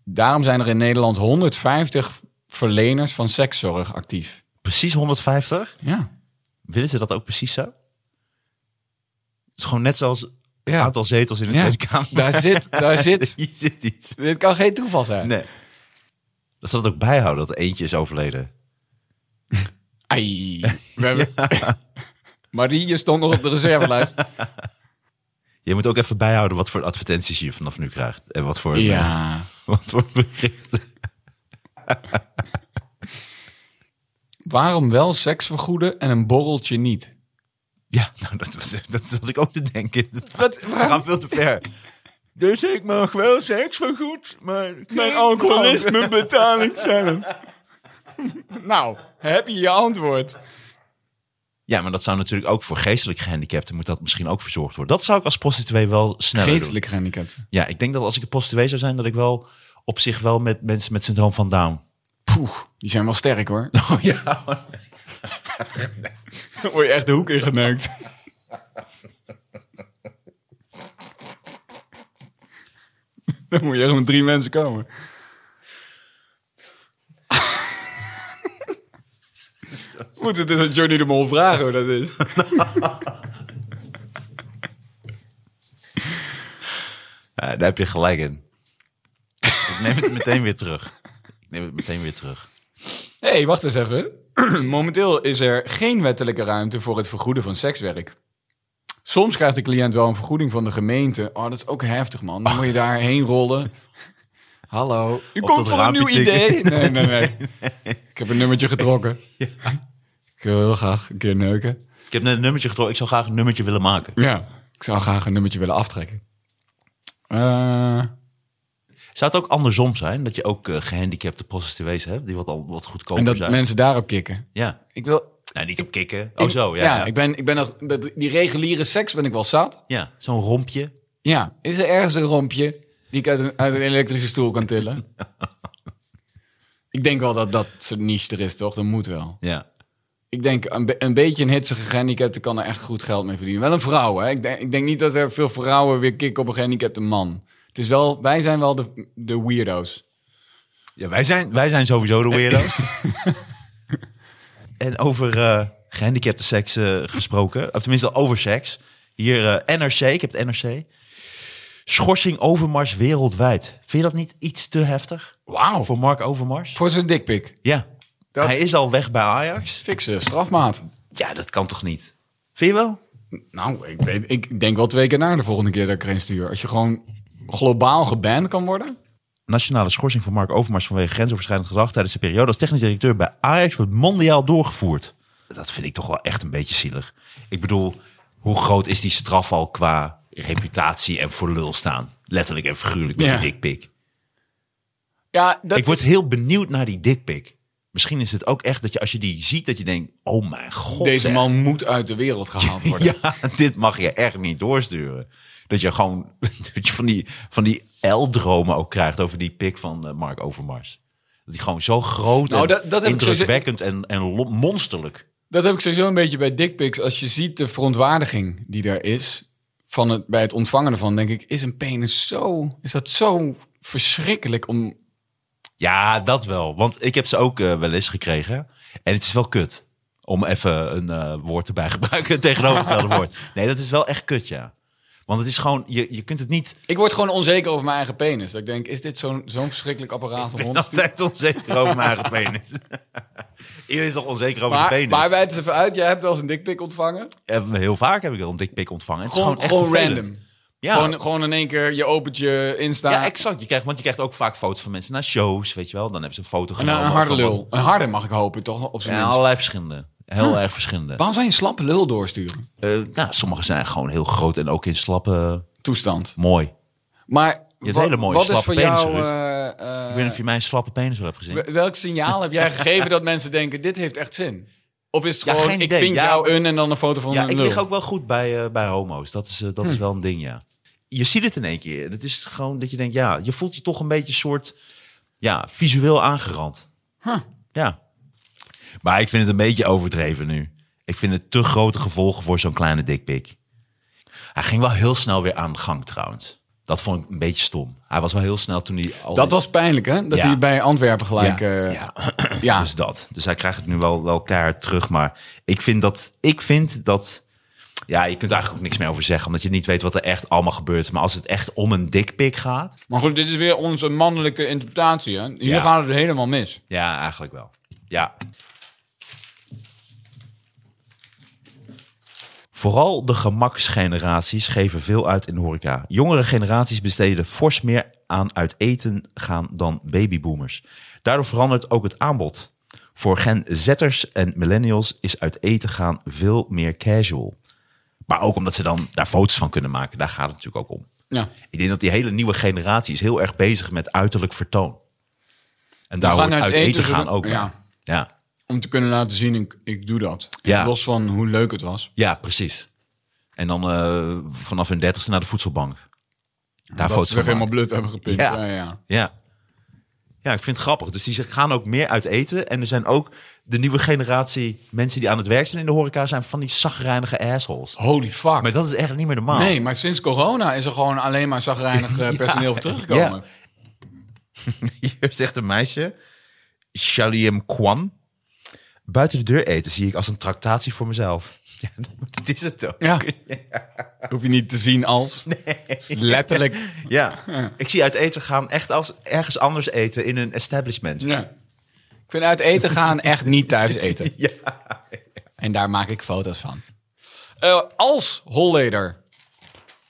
C: Daarom zijn er in Nederland 150 verleners van sekszorg actief.
B: precies 150.
C: Ja.
B: Willen ze dat ook precies zo? Het is gewoon net zoals het
C: Ja.
B: aantal zetels in de
C: ja.
B: Tweede Kamer. <laughs>
C: Daar zit, daar zit.
B: Hier zit iets.
C: Dit kan geen toeval zijn.
B: Nee. Dat ze dat ook bijhouden, dat er eentje is overleden. <laughs>
C: Ai. We hebben... Marie, je stond nog op de reservelijst.
B: Je moet ook even bijhouden wat voor advertenties je vanaf nu krijgt. En wat voor,
C: Ja.
B: <laughs> wat voor berichten.
C: Waarom wel seks vergoeden en een borreltje niet?
B: Ja, nou, dat, was- dat zat ik ook te denken.
C: Wat-
B: Ze gaan veel te ver. Dus ik mag wel seks van goed, maar...
C: Mijn alcoholisme betaal ik zelf. <laughs> nou, heb je je antwoord?
B: Nou, Ja, maar dat zou natuurlijk ook voor geestelijk gehandicapten... moet dat misschien ook verzorgd worden. Dat zou ik als prostituee wel sneller doen.
C: Geestelijk gehandicapt.
B: Ja, ik denk dat als ik een prostituee zou zijn... dat ik wel op zich wel met mensen met syndroom van Down...
C: Poeh, die zijn wel sterk hoor.
B: <laughs> Oh ja,
C: <laughs> Word je echt de hoek ingeneukt. <laughs> Dan moet je echt met drie mensen komen. <laughs> Moet het eens aan Johnny de Mol vragen hoe dat is.
B: Ja, Eh, daar heb je gelijk in. Ik neem het meteen weer terug. Ik neem het meteen weer terug.
C: Hé, hey, wacht eens even. <clears throat> Momenteel is er geen wettelijke ruimte voor het vergoeden van sekswerk. Soms krijgt de cliënt wel een vergoeding van de gemeente. Oh, dat is ook heftig, man. Dan moet je daarheen rollen. <laughs> Hallo. U
B: Op
C: komt
B: dat
C: voor een nieuw
B: raampje tikken.
C: idee. <laughs> Nee, nee, nee. Ik heb een nummertje <laughs> getrokken. Ik wil heel graag een keer neuken.
B: Ik heb net een nummertje getrokken. Ik zou graag een nummertje willen maken.
C: Ja, ik zou graag een nummertje willen aftrekken. Eh,
B: Zou het ook andersom zijn? Dat je ook eh, gehandicapte prostituees hebt die wat, al, wat goedkoper
C: en dat
B: zijn?
C: mensen daarop kikken.
B: Ja.
C: Ik wil...
B: Nou, niet op kikken. Oh zo, ja.
C: ja,
B: ja,
C: Ik ben, ik ben nog, dat- die reguliere seks ben ik wel zat.
B: Ja, zo'n rompje.
C: Ja, is er ergens een rompje die ik uit een, uit een elektrische stoel kan tillen? ik denk wel dat dat soort niche er is, toch? Dat moet wel.
B: Ja.
C: Ik denk, een, be- een beetje een hitsige gehandicapte kan er echt goed geld mee verdienen. Wel een vrouw, hè? Ik denk, ik denk niet dat er veel vrouwen weer kicken op een gehandicapte man. Het is wel, wij zijn wel de, de weirdo's.
B: ja wij, zijn, wij zijn sowieso de weirdo's. en over eh gehandicapte seks eh, gesproken. Of tenminste over seks. Hier eh, NRC, ik heb het NRC. Schorsing Overmars wereldwijd. Vind je dat niet iets te heftig?
C: Wauw.
B: Voor Mark Overmars?
C: Voor zijn dikpik.
B: Ja.
C: Dat-
B: Hij is al weg bij Ajax.
C: Fikse eh, strafmaat.
B: Ja, dat kan toch niet? Vind je wel?
C: Nou, ik, weet, ik denk wel twee keer naar de volgende keer dat ik erin stuur. Als je gewoon globaal geband kan worden.
B: Nationale schorsing van Mark Overmars vanwege grensoverschrijdend gedrag tijdens zijn periode als technisch directeur bij Ajax wordt mondiaal doorgevoerd. Dat vind ik toch wel echt een beetje zielig. Ik bedoel, hoe groot is die straf al qua reputatie en voor lul staan? Letterlijk en figuurlijk met
C: Ja.
B: die dikpik.
C: Ja, dat
B: Ik word
C: is-
B: heel benieuwd naar die dikpik. Misschien is het ook echt dat je als je die ziet dat je denkt, oh mijn god.
C: Deze
B: zeg.
C: man moet uit de wereld gehaald worden.
B: <laughs> Ja, dit mag je echt niet doorsturen. Dat je gewoon <laughs> dat je van die, van die L-dromen ook krijgt over die pik van eh, Mark Overmars. Dat die gewoon zo groot
C: Nou,
B: en
C: dat- dat heb ik sowieso-
B: indrukwekkend en, en lo- monsterlijk.
C: Dat heb ik sowieso een beetje bij dickpics. Als je ziet de verontwaardiging die er is van het, bij het ontvangen ervan, denk ik, is een penis zo, is dat zo verschrikkelijk om...
B: Ja, dat wel. Want ik heb ze ook eh, wel eens gekregen. En het is wel kut. Om even een eh, woord erbij <laughs> te gebruiken. een Tegenovergestelde woord. Nee, dat is wel echt kut, ja. Want het is gewoon, je, je kunt het niet
C: Ik word gewoon onzeker over mijn eigen penis. Dat ik denk, is dit zo'n zo'n verschrikkelijk apparaat om
B: Ik ben
C: rond te sturen?
B: altijd onzeker over mijn eigen penis. <laughs> Iedereen is toch onzeker over zijn
C: Maar,
B: penis?
C: maar wij het eens even uit. Jij hebt wel eens een dickpic ontvangen.
B: Eh, Heel vaak heb ik wel een dikpik ontvangen. Het is
C: Gewoon,
B: gewoon echt
C: gewoon
B: vervelend.
C: random.
B: Ja.
C: Gewoon, eh, gewoon in één keer, je opent je Insta.
B: ja, exact. Je krijgt, want je krijgt ook vaak foto's van mensen naar shows, weet je wel. Dan hebben ze een foto
C: en
B: genomen.
C: een harde
B: van wat-
C: lul. Een harde mag ik hopen, toch? Op zijn
B: Ja,
C: minst.
B: allerlei verschillende. Heel erg verschillende.
C: Waarom zou je een slappe lul doorsturen?
B: Eh, nou, sommige zijn gewoon heel groot en ook in slappe...
C: Toestand.
B: Mooi.
C: Maar
B: hebt
C: wa-
B: hele mooie
C: wat is
B: slappe
C: voor
B: penissen,
C: jou...
B: Ruud.
C: eh,
B: Ik
C: eh,
B: weet niet of je mijn slappe penis wel hebt gezien.
C: wel- welk signaal heb jij gegeven dat mensen denken, dit heeft echt zin? Of is het
B: Ja,
C: gewoon,
B: geen
C: ik
B: idee.
C: vind
B: Ja,
C: jou een en dan een foto van
B: Ja,
C: een
B: ik
C: lul? Hm.
B: lig ook wel goed bij, eh, bij homo's. Dat is, eh, dat is wel een ding, ja. Je ziet het in één keer. Het is gewoon dat je denkt, ja, je voelt je toch een beetje soort, ja, visueel aangerand. Ja. Maar ik vind het een beetje overdreven nu. Ik vind het te grote gevolgen voor zo'n kleine dikpik. Hij ging wel heel snel weer aan de gang trouwens. Dat vond ik een beetje stom. Hij was wel heel snel toen hij al...
C: Dat was pijnlijk, hè? Dat
B: Ja.
C: hij bij Antwerpen gelijk...
B: Ja,
C: eh,
B: ja.
C: <clears throat> ja.
B: Dus dat. Dus hij krijgt het nu wel, wel keihard terug. Maar ik vind dat... Ik vind dat ja, je kunt er eigenlijk ook niks meer over zeggen. Omdat je niet weet wat er echt allemaal gebeurt. Maar als het echt om een dikpik gaat...
C: Maar goed, dit is weer onze mannelijke interpretatie, hè? Hier
B: Ja.
C: gaat het helemaal mis.
B: Ja, eigenlijk wel. Ja. Vooral de gemaksgeneraties geven veel uit in de horeca. Jongere generaties besteden fors meer aan uit eten gaan dan babyboomers. Daardoor verandert ook het aanbod. Voor gen zetters en millennials is uit eten gaan veel meer casual. Maar ook omdat ze dan daar foto's van kunnen maken, daar gaat het natuurlijk ook om.
C: Ja.
B: Ik denk dat die hele nieuwe generatie is heel erg bezig met uiterlijk vertoon. En daar
C: gaan
B: hoort
C: uit
B: uit
C: eten,
B: eten gaan
C: zodat-
B: ook. bij.
C: ja.
B: ja.
C: Om te kunnen laten zien, ik, ik doe dat.
B: Ja.
C: Los van hoe leuk het was.
B: Ja, precies. En dan eh, vanaf hun dertigste naar de voedselbank. Daar
C: dat
B: foto's
C: ze
B: van
C: weer helemaal
B: maken.
C: blut hebben gepint.
B: Ja.
C: Ja. Ja, ja.
B: Ja. ja, ik vind het grappig. Dus die gaan ook meer uit eten. En er zijn ook de nieuwe generatie mensen die aan het werk zijn in de horeca... zijn van die zagrijnige assholes.
C: Holy fuck.
B: Maar dat is echt niet meer normaal.
C: Nee, maar sinds corona is er gewoon alleen maar zagrijnig
B: <laughs>
C: eh, personeel voor teruggekomen.
B: Ja. <laughs> Hier zegt een meisje, Shaliem Kwan... Buiten de deur eten zie ik als een tractatie voor mezelf. <laughs> Ja, dat is het ook. <laughs>
C: Ja. Hoef je niet te zien als. Is Letterlijk.
B: Ja. Ik zie uit eten gaan echt als ergens anders eten in een establishment.
C: Ja. Ik vind uit eten gaan echt niet thuis <laughs> eten.
B: Ja.
C: En daar maak ik foto's van. Eh, als Holleder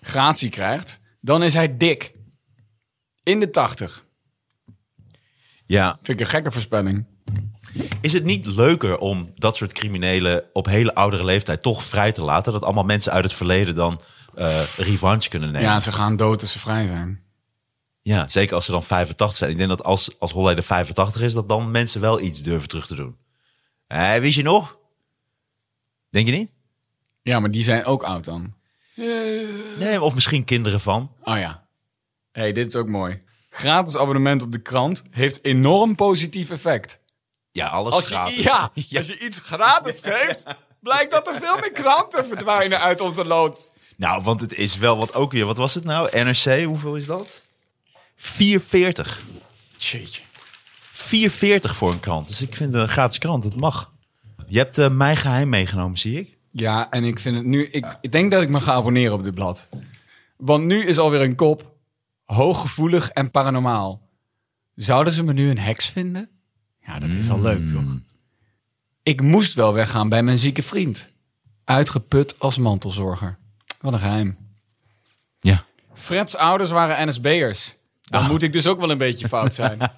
C: gratie krijgt, dan is hij dik. In de 80.
B: Ja,
C: Vind ik een gekke voorspelling.
B: Is het niet leuker om dat soort criminelen op hele oudere leeftijd toch vrij te laten? Dat allemaal mensen uit het verleden dan eh, revanche kunnen nemen.
C: Ja,
B: Ja.
C: ze gaan dood als ze vrij zijn.
B: zeker als ze dan 85 zijn. Ik denk dat als, als Holleder 85 is, dat dan mensen wel iets durven terug te doen. Hé, wist je nog? Denk je niet?
C: Ja, maar die zijn ook oud dan.
B: Nee, of misschien kinderen van.
C: Oh ja. hey, dit is ook mooi. Gratis abonnement op de krant heeft enorm positief effect.
B: Ja, alles
C: Als
B: gratis.
C: je, <laughs> ja, als je iets gratis geeft, blijkt dat er veel meer kranten verdwijnen uit onze loods.
B: Nou, want het is wel wat ook weer. Wat was het nou? NRC, hoeveel is dat? 4,40.
C: Jeetje.
B: 4,40 voor een krant. Dus ik vind een gratis krant, dat mag. Je hebt eh, mijn geheim meegenomen, zie ik.
C: Ja, en ik vind het nu. Ik, ik denk dat ik me ga abonneren op dit blad. Want nu is alweer een kop. Hooggevoelig en paranormaal. Zouden ze me nu een heks vinden? Ja, dat is al leuk, toch? Ik moest wel weggaan bij mijn zieke vriend. Uitgeput als mantelzorger. Wat een geheim.
B: Ja.
C: Freds ouders waren NSB'ers. Dan moet ik dus ook wel een beetje fout zijn. <laughs>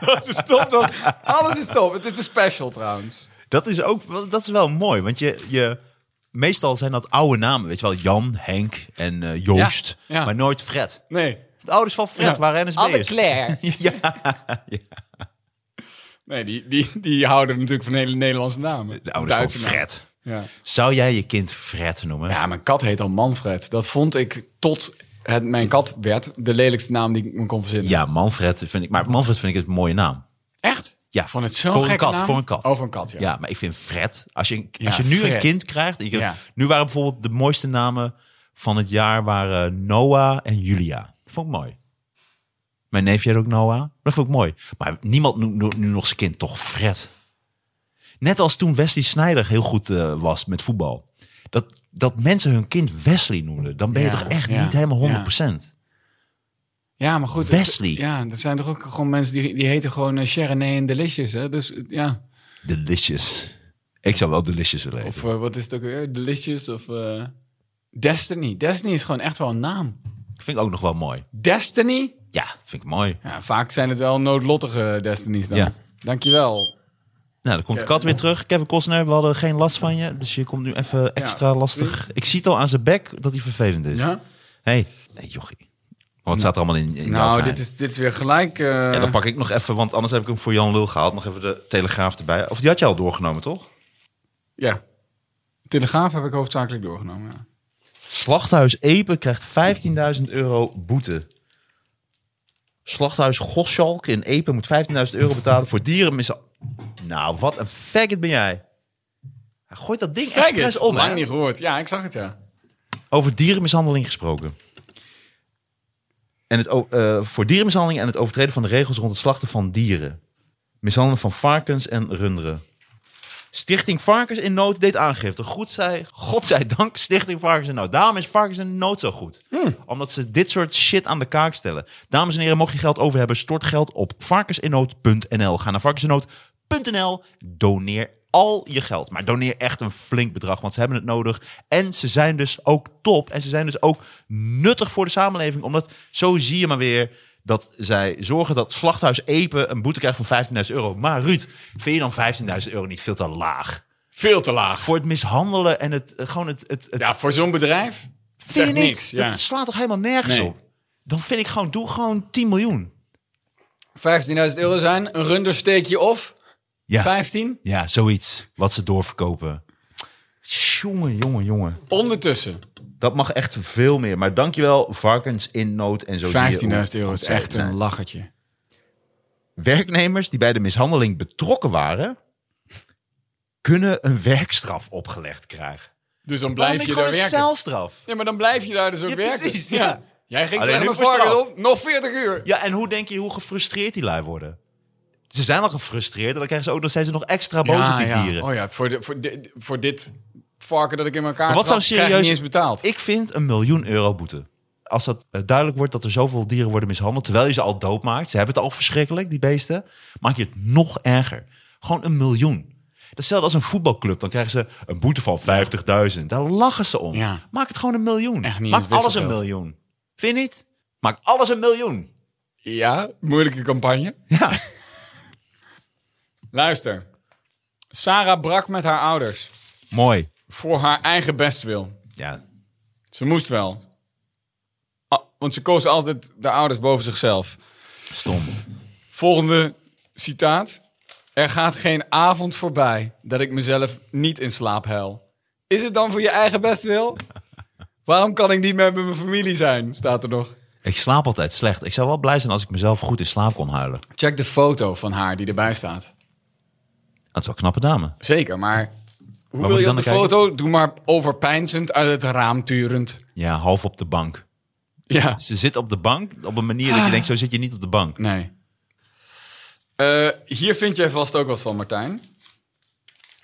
C: Dat is top, toch? Alles is top. Het is de special, trouwens.
B: Dat is ook wel- dat is wel mooi, want je, je, meestal zijn dat oude namen, weet je wel, Jan, Henk en eh, Joost,
C: Ja, ja.
B: maar nooit Fred.
C: Nee.
B: De ouders van Fred
C: Ja.
B: waren NSB'ers.
C: Claire.
B: <laughs> Ja,
C: Nee, die, die, die houden natuurlijk van hele Nederlandse namen.
B: de ouders
C: Duitse
B: van
C: namen.
B: Fred.
C: Ja.
B: Zou jij je kind Fred noemen?
C: ja, mijn kat heet al Manfred. Dat vond ik tot het mijn kat werd de lelijkste naam die ik me kon verzinnen.
B: Ja, Manfred vind ik, maar Manfred vind ik het een mooie naam.
C: Echt?
B: Ja,
C: Vond het zo'n
B: voor een
C: gekke
B: kat,
C: naam?
B: voor een kat.
C: Oh, voor een kat, ja.
B: Ja, maar ik vind Fred, als je,
C: Ja,
B: als je nu een
C: Fred.
B: kind krijgt, en je-
C: Ja.
B: nu waren bijvoorbeeld de mooiste namen van het jaar waren Noah en Julia. Dat vond ik mooi. Mijn neefje had ook Noah. Dat vond ik mooi. Maar niemand noemt no- nu nog zijn kind toch Fred. Net als toen Wesley Sneijder heel goed eh, was met voetbal. Dat, dat mensen hun kind Wesley noemden. Dan ben je
C: Ja,
B: toch echt
C: ja,
B: niet helemaal
C: ja.
B: 100%.
C: Ja, maar goed.
B: Wesley.
C: het- ja, dat zijn toch ook gewoon mensen die, die heten gewoon eh, Cherenee en Delicious, hè? Dus eh, ja.
B: Delicious. Ik zou wel Delicious willen
C: Of
B: eten.
C: eh, wat is het ook weer? Delicious of... eh, Destiny. Destiny is gewoon echt wel een naam.
B: Vind ik ook nog wel mooi.
C: Destiny?
B: Ja, vind ik mooi.
C: Ja, vaak zijn het wel noodlottige Destinies dan.
B: Ja.
C: Dankjewel,
B: Nou, dan komt de
C: Kevin.
B: kat weer terug. Kevin Costner, we hadden geen last van je. Dus je komt nu even extra lastig. Ik zie het al aan zijn bek dat hij vervelend is.
C: Ja?
B: hey. nee, jochie. Wat staat er allemaal in, in jouw
C: Nou,
B: geheim?
C: dit is, dit is weer gelijk. eh,
B: Ja, dan pak ik nog even, want anders heb ik hem voor Jan Lul gehaald. Nog even de Telegraaf erbij. Of die had je al doorgenomen, toch?
C: ja. Telegraaf heb ik hoofdzakelijk doorgenomen. Ja.
B: Slachthuis Epe krijgt 15.000 euro boete. Slachthuis Goschalk in Epe moet 15.000 euro betalen voor dierenmishandeling. Nou, wat een faggot ben jij. Hij gooit dat ding expres om,
C: lang
B: hè?
C: niet gehoord. Ja, ik zag het ja.
B: Over dierenmishandeling gesproken. En het, o- eh, voor dierenmishandeling en het overtreden van de regels rond het slachten van dieren. Mishandelen van varkens en runderen. Stichting Varkens in Nood deed aangifte. Goed zij, godzijdank, Stichting Varkens in Nood. Daarom is Varkens in Nood zo goed. Omdat ze dit soort shit aan de kaak stellen. Dames en heren, mocht je geld over hebben, stort geld op varkensinnood.nl. Ga naar varkensinnood.nl, doneer al je geld. Maar doneer echt een flink bedrag, want ze hebben het nodig. En ze zijn dus ook top. En ze zijn dus ook nuttig voor de samenleving. Omdat zo zie je maar weer dat zij zorgen dat Slachthuis Epen een boete krijgt van 15.000 euro. Maar Ruud, vind je dan 15.000 euro niet veel te laag?
C: Veel te laag.
B: Voor het mishandelen en het, eh, gewoon het, het, het
C: ja, voor zo'n bedrijf.
B: Vind je
C: zegt
B: niet?
C: niks, ja.
B: Dat slaat toch helemaal nergens
C: Nee.
B: op? Dan vind ik gewoon, doe gewoon 10 miljoen.
C: 15.000 euro zijn, een rundersteekje of
B: Ja.
C: 15.
B: Ja, zoiets. Wat ze doorverkopen. Jongen, jongen, jongen.
C: Ondertussen. 15.000
B: Dat mag echt veel meer. Maar dankjewel, varkens in nood en zo. zie je hoe
C: euro is
B: ontzettend
C: echt een
B: zijn.
C: lachertje.
B: Werknemers die bij de mishandeling betrokken waren, kunnen een werkstraf opgelegd krijgen.
C: Dus
B: Waarom
C: dan blijf
B: niet
C: je
B: Oh, gewoon
C: daar
B: een
C: werken.
B: celstraf?
C: Ja, maar dan blijf je daar dus ook
B: Ja,
C: werken.
B: precies,
C: ja.
B: ja.
C: Jij ging
B: Alleen
C: zeggen
B: nu
C: met
B: voor straf.
C: varkens op, nog 40 uur.
B: Ja, en hoe denk je hoe gefrustreerd die lui worden? Ze zijn al gefrustreerd en dan krijgen ze ook nog, zijn ze nog extra boos op die dieren.
C: Oh ja, voor, de, voor, de, voor dit varken dat ik in elkaar
B: Maar
C: wat
B: wat
C: trap,
B: zou
C: serieus... krijg
B: serieus-
C: je niet eens betaald.
B: Ik vind een miljoen euro boete. Als dat eh, duidelijk wordt dat er zoveel dieren worden mishandeld, terwijl je ze al dood maakt. Ze hebben het al verschrikkelijk, die beesten. Maak je het nog erger. Gewoon een miljoen. Dat is Hetzelfde als een voetbalclub. Dan krijgen ze een boete van 50.000. Daar lachen ze om.
C: Ja.
B: Maak het gewoon een miljoen.
C: Echt niet
B: Maak
C: eens
B: alles een
C: wisselgeld.
B: miljoen. Vind je niet? Maak alles een miljoen.
C: Ja, moeilijke campagne.
B: Ja.
C: Luister. Sarah brak met haar ouders.
B: <laughs> Mooi.
C: Voor haar eigen bestwil.
B: Ja.
C: Ze moest wel. Ah, want ze koos altijd de ouders boven zichzelf.
B: Stom.
C: Volgende citaat. Er gaat geen avond voorbij dat ik mezelf niet in slaap huil. Is het dan voor je eigen bestwil? Waarom kan ik niet meer met mijn familie zijn? Staat er nog.
B: Ik slaap altijd slecht. Ik zou wel blij zijn als ik mezelf goed in slaap kon huilen.
C: Check de foto van haar die erbij staat.
B: Dat is wel een knappe dame.
C: Zeker, maar hoe
B: moet
C: wil
B: ik
C: je op
B: dan
C: de
B: naar kijken?
C: foto? Doe maar overpeinzend uit het raam turend.
B: Ja, half op de bank.
C: Ja,
B: Ze zit op de bank op een manier dat
C: Ah.
B: je denkt, zo zit je niet op de bank.
C: nee. Eh, hier vind jij vast ook wat van, Martijn.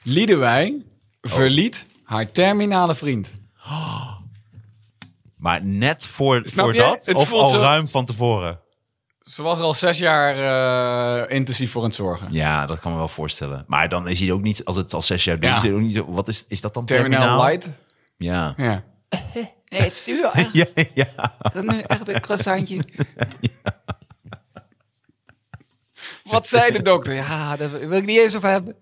C: Liedewij verliet haar terminale vriend.
B: Maar net voor,
C: Snap
B: voor
C: je?
B: dat,
C: Het
B: of
C: voelt
B: al
C: zo-
B: ruim van tevoren.
C: Ze was er al zes jaar eh, intensief voor aan het zorgen.
B: Ja, dat kan me wel voorstellen. Maar dan is hij ook niet, als het al zes jaar duurt,
C: Ja.
B: is hij ook niet zo, wat is, is dat dan
C: Terminal, light.
B: Ja. <laughs>
C: Ja.
E: Nee, het is duur. Echt,
B: Ja, ja.
E: echt een croissantje.
C: Wat zei de dokter? Ja,
E: Ja, daar wil ik niet eens over hebben.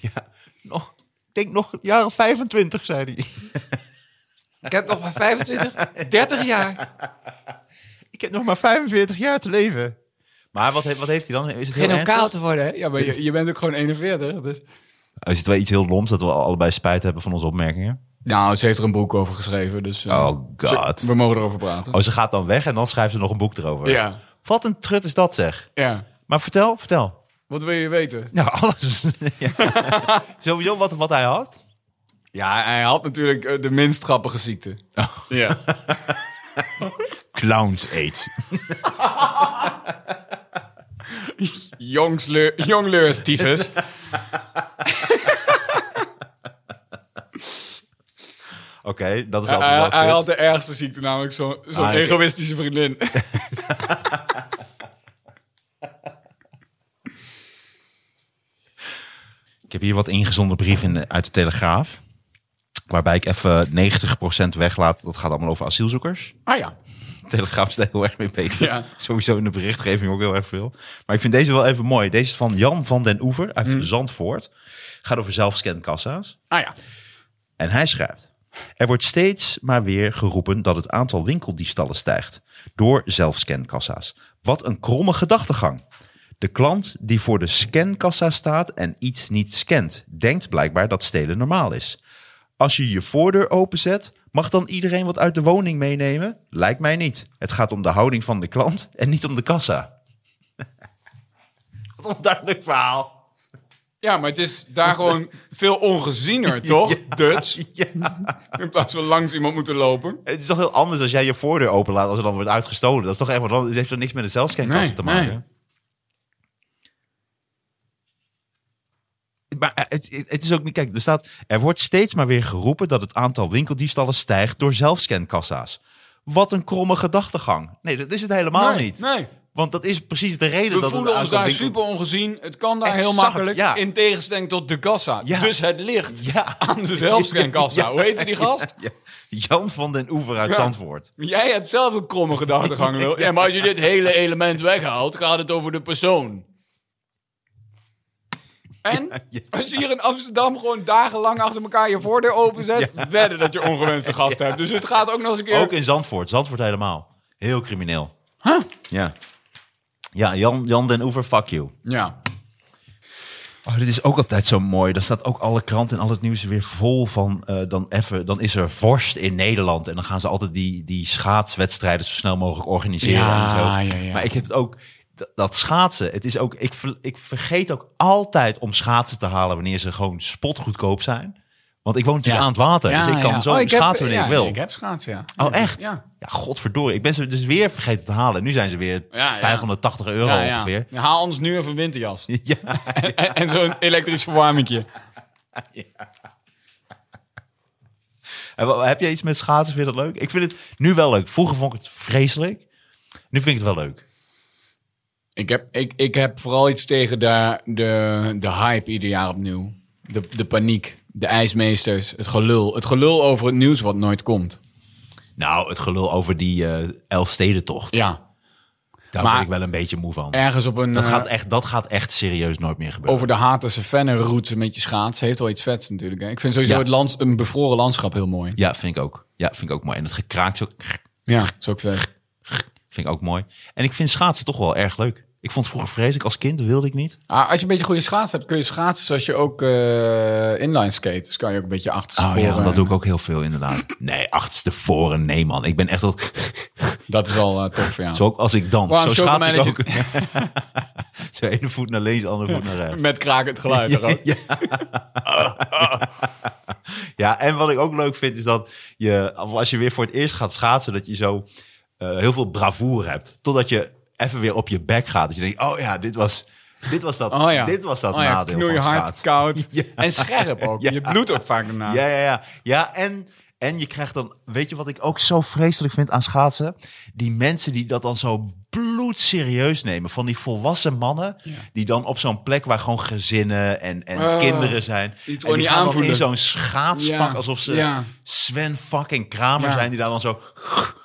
B: ja. Nog, ik denk nog een jaar of 25, zei hij.
E: Ik heb nog maar 25, 30 jaar.
B: Ik heb nog maar 45 jaar te leven. Maar wat, heeft- wat heeft hij dan? Is het heel
E: Geen om
B: ernstig?
E: kaal te worden, hè?
C: ja maar je, je bent ook gewoon 41. Dus...
B: Is het Oh, wel iets heel loms dat we allebei spijt hebben van onze opmerkingen?
C: Nou, ze heeft er een boek over geschreven. Dus, eh,
B: Oh, God.
C: ze- we mogen erover praten.
B: Oh, ze gaat dan weg en dan schrijft ze nog een boek erover.
C: Ja.
B: Wat een trut is dat zeg.
C: Ja.
B: Maar vertel, vertel.
C: Wat wil je weten?
B: Nou, alles. <laughs> Ja. Sowieso wat, wat hij had.
C: Ja, hij had natuurlijk eh, de minst grappige ziekte. Ja. <laughs>
B: Clowns aids.
C: Jongsle- Jongleurs tyfus.
B: Oké, dat is
C: hij,
B: altijd wel
C: hij
B: kut.
C: had de ergste ziekte, namelijk zo'n zo'n
B: Ah, ik-
C: egoïstische vriendin.
B: Ik heb hier wat ingezonden brief in, de- uit de Telegraaf. Waarbij ik even 90% weglaat. Dat gaat allemaal over asielzoekers.
C: <laughs> ah ja.
B: De <laughs> Telegraaf is daar heel erg mee bezig.
C: Ja.
B: Sowieso in de berichtgeving ook heel erg veel. Maar ik vind deze wel even mooi. Deze is van Jan van den Oever uit Zandvoort. Gaat over zelfscankassa's.
C: Ah ja.
B: En hij schrijft: Er wordt steeds maar weer geroepen dat het aantal winkeldiefstallen stijgt door zelfscankassa's. Wat een kromme gedachtegang. De klant die voor de scankassa staat en iets niet scant, denkt blijkbaar dat stelen normaal is. Als je je voordeur openzet, mag dan iedereen wat uit de woning meenemen? Lijkt mij niet. Het gaat om de houding van de klant en niet om de kassa. <laughs> Wat een onduidelijk verhaal.
C: Ja, maar het is daar gewoon veel <laughs> ongeziener, toch? Dutch.
B: Ja.
C: In plaats van langs iemand moeten lopen.
B: Het is toch heel anders als jij je voordeur openlaat als er dan wordt uitgestolen. Dat is toch echt wat anders. Het heeft toch niks met de zelfscankassen
C: Nee,
B: te maken.
C: nee.
B: Maar eh, het, het het is ook niet. Kijk, er staat. Er wordt steeds maar weer geroepen dat het aantal winkeldiefstallen stijgt door zelfscankassa's. Wat een kromme gedachtegang. Nee, dat is het helemaal
C: Nee,
B: niet.
C: Nee.
B: Want dat is precies de reden
C: We
B: dat
C: voelen
B: het
C: ons daar
B: aankoopwinkel-
C: super ongezien. Het kan daar heel
B: Exact,
C: makkelijk.
B: ja.
C: In tegenstelling tot de kassa.
B: Ja.
C: Dus het ligt
B: Ja.
C: aan <laughs> de
B: <laughs>
C: zelfscankassa.
B: Ja.
C: Hoe heette die gast?
B: Ja. Jan van den Oever uit
C: Ja.
B: Zandvoort.
C: Jij hebt zelf een
B: <laughs>
C: kromme gedachtegang. Wil. Ja, maar als je dit hele element weghaalt, gaat het over de persoon. En als je hier in Amsterdam gewoon dagenlang achter elkaar je voordeur openzet, wedden dat je
B: <laughs>
C: ongewenste gasten hebt. Dus het gaat ook nog eens een keer.
B: Ook in Zandvoort. Zandvoort helemaal. Heel crimineel. Ja. Ja, Jan, Jan den Oever, fuck you.
C: Ja.
B: Oh, dit is ook altijd zo mooi. Daar staat ook alle kranten en al het nieuws weer vol van. eh, dan, even, dan is er vorst in Nederland. En dan gaan ze altijd die, die schaatswedstrijden zo snel mogelijk organiseren.
C: Ja,
B: en zo.
C: ja, ja.
B: Maar ik heb het ook. dat- Dat schaatsen, het is ook, ik, ver- ik vergeet ook altijd om schaatsen te halen wanneer ze gewoon spotgoedkoop zijn. Want ik woon natuurlijk
C: Ja.
B: aan het water, dus ik kan
C: ja.
B: zo
C: Oh, ik heb-
B: schaatsen wanneer
C: ja,
B: ik wil.
C: Ik heb schaatsen, ja.
B: Oh, echt?
C: Ja.
B: Ja. godverdorie. Ik ben ze dus weer vergeten te halen. Nu zijn ze weer
C: Ja, ja.
B: 580 euro
C: Ja, ja.
B: Oh, ongeveer. <laughs>
C: Ja, Haal ons nu even een winterjas.
B: Ja.
C: <laughs> en en zo'n elektrisch verwarmingje.
B: En wa- Heb jij iets met schaatsen? Vind je dat leuk? Ik vind het nu wel leuk. Vroeger vond ik het vreselijk. Nu vind ik het wel leuk.
C: Ik heb, ik, ik heb vooral iets tegen de, de, de hype ieder jaar opnieuw. De, de paniek, de ijsmeesters, het gelul. Het gelul over het nieuws wat nooit komt.
B: Nou, het gelul over die eh Elfstedentocht.
C: Ja,
B: Daar
C: maar-
B: ben ik wel een beetje moe van.
C: ergens op een...
B: Dat
C: eh,
B: gaat, echt, dat gaat echt serieus nooit meer gebeuren.
C: over de Haterse Vennenroute met je schaats. Heeft wel iets vets natuurlijk. Hè? Ik vind sowieso
B: Ja.
C: het lands, een bevroren landschap heel mooi.
B: Ja, vind ik ook. Ja, vind ik ook mooi. En het gekraakt zo,
C: Ja, dat is ook vet.
B: vind ik ook mooi. En ik vind schaatsen toch wel erg leuk. Ik vond het vroeger vreselijk als kind, wilde ik niet.
C: Ah, als je een beetje goede schaats hebt, kun je schaatsen zoals je ook eh inline skate. Dus kan je ook een beetje achter
B: Oh ja, want dat doe ik ook heel veel
C: <clears throat>
B: inderdaad. Nee, achterstevoren, nee man. Ik ben echt wel...
C: Dat is wel eh, tof, ja.
B: Zo ook als ik dans,
C: Waarom
B: zo
C: zo
B: schaats ik ook. <laughs>
C: gemein
B: zo ene voet naar links, andere voet naar rechts.
C: Met krakend
B: <laughs>
C: geluid. er ook.
B: Ja, en wat ik ook leuk vind is dat je, als je weer voor het eerst gaat schaatsen, dat je zo eh, heel veel bravoer hebt. Totdat je even weer op je bek gaat. Dat je denkt, oh ja, dit was, dit was dat,
C: Oh ja.
B: dit was dat
C: oh ja,
B: nadeel van
C: knoeihard,
B: schaatsen. <laughs>
C: koud en scherp ook.
B: Ja.
C: Je bloedt ook vaak daarna.
B: Ja, ja, ja. Ja, en, en je krijgt dan... Weet je wat ik ook zo vreselijk vind aan schaatsen? Die mensen die dat dan zo bloedserieus nemen. Van die volwassen mannen die dan op zo'n plek waar gewoon gezinnen en, en
C: Ah,
B: kinderen zijn.
C: die het
B: en
C: gewoon
B: die
C: niet
B: gaan dan
C: aanvoelen.
B: in zo'n schaatspak
C: Ja,
B: alsof ze
C: ja.
B: Sven fucking Kramer
C: Ja.
B: zijn. Die daar dan zo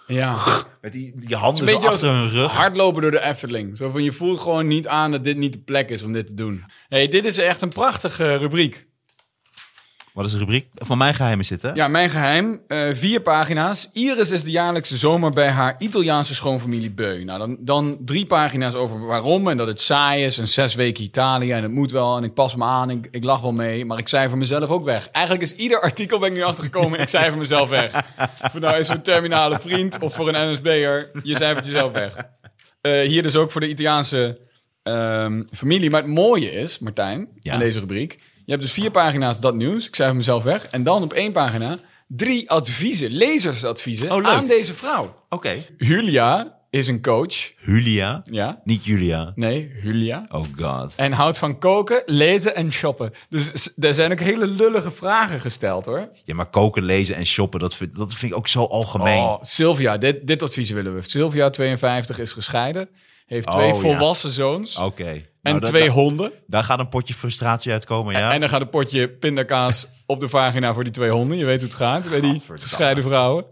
C: Ja.
B: met die, die handen
C: Een
B: zo
C: beetje als
B: achter hun rug.
C: hardlopen door de Efteling. Zo van, je voelt gewoon niet aan dat dit niet de plek is om dit te doen. hey, dit is echt een prachtige rubriek.
B: Wat is de rubriek? Van mijn geheimen zitten.
C: Ja, mijn geheim. eh, vier pagina's. Iris is de jaarlijkse zomer bij haar Italiaanse schoonfamilie Beu. Nou, dan, dan drie pagina's over waarom en dat het saai is. En zes weken Italië en het moet wel. En ik pas me aan, ik, ik lach wel mee. Maar ik cijfer mezelf ook weg. Eigenlijk is ieder artikel ben ik nu achtergekomen, ik cijfer mezelf weg. Of het nou is voor een terminale vriend of voor een NSB'er, je cijfert jezelf weg. Eh, hier dus ook voor de Italiaanse ehm, familie. Maar het mooie is, Martijn,
B: Ja.
C: in deze rubriek... je hebt dus vier pagina's dat nieuws, ik cijfer mezelf weg... en dan op één pagina drie adviezen, lezersadviezen
B: Oh, leuk.
C: aan deze vrouw.
B: Oké.
C: Julia is een coach,
B: Julia.
C: ja.
B: Niet Julia.
C: Nee, Julia.
B: Oh god.
C: En houdt van koken, lezen en shoppen. Dus s- er zijn ook hele lullige vragen gesteld, hoor.
B: Ja, maar koken, lezen en shoppen, dat vind, dat vind ik ook zo algemeen.
C: Oh, Sylvia, dit, dit advies willen we. Sylvia, 52, is gescheiden. Heeft twee
B: Oh, ja.
C: volwassen zoons.
B: Oké.
C: En
B: Nou, dat-
C: twee
B: dat-
C: honden.
B: Daar gaat een potje frustratie uitkomen, ja.
C: En dan gaat een potje
B: <laughs>
C: pindakaas op de vagina voor die twee honden. Je weet hoe het gaat bij die
B: Gadverdamme.
C: gescheiden vrouwen.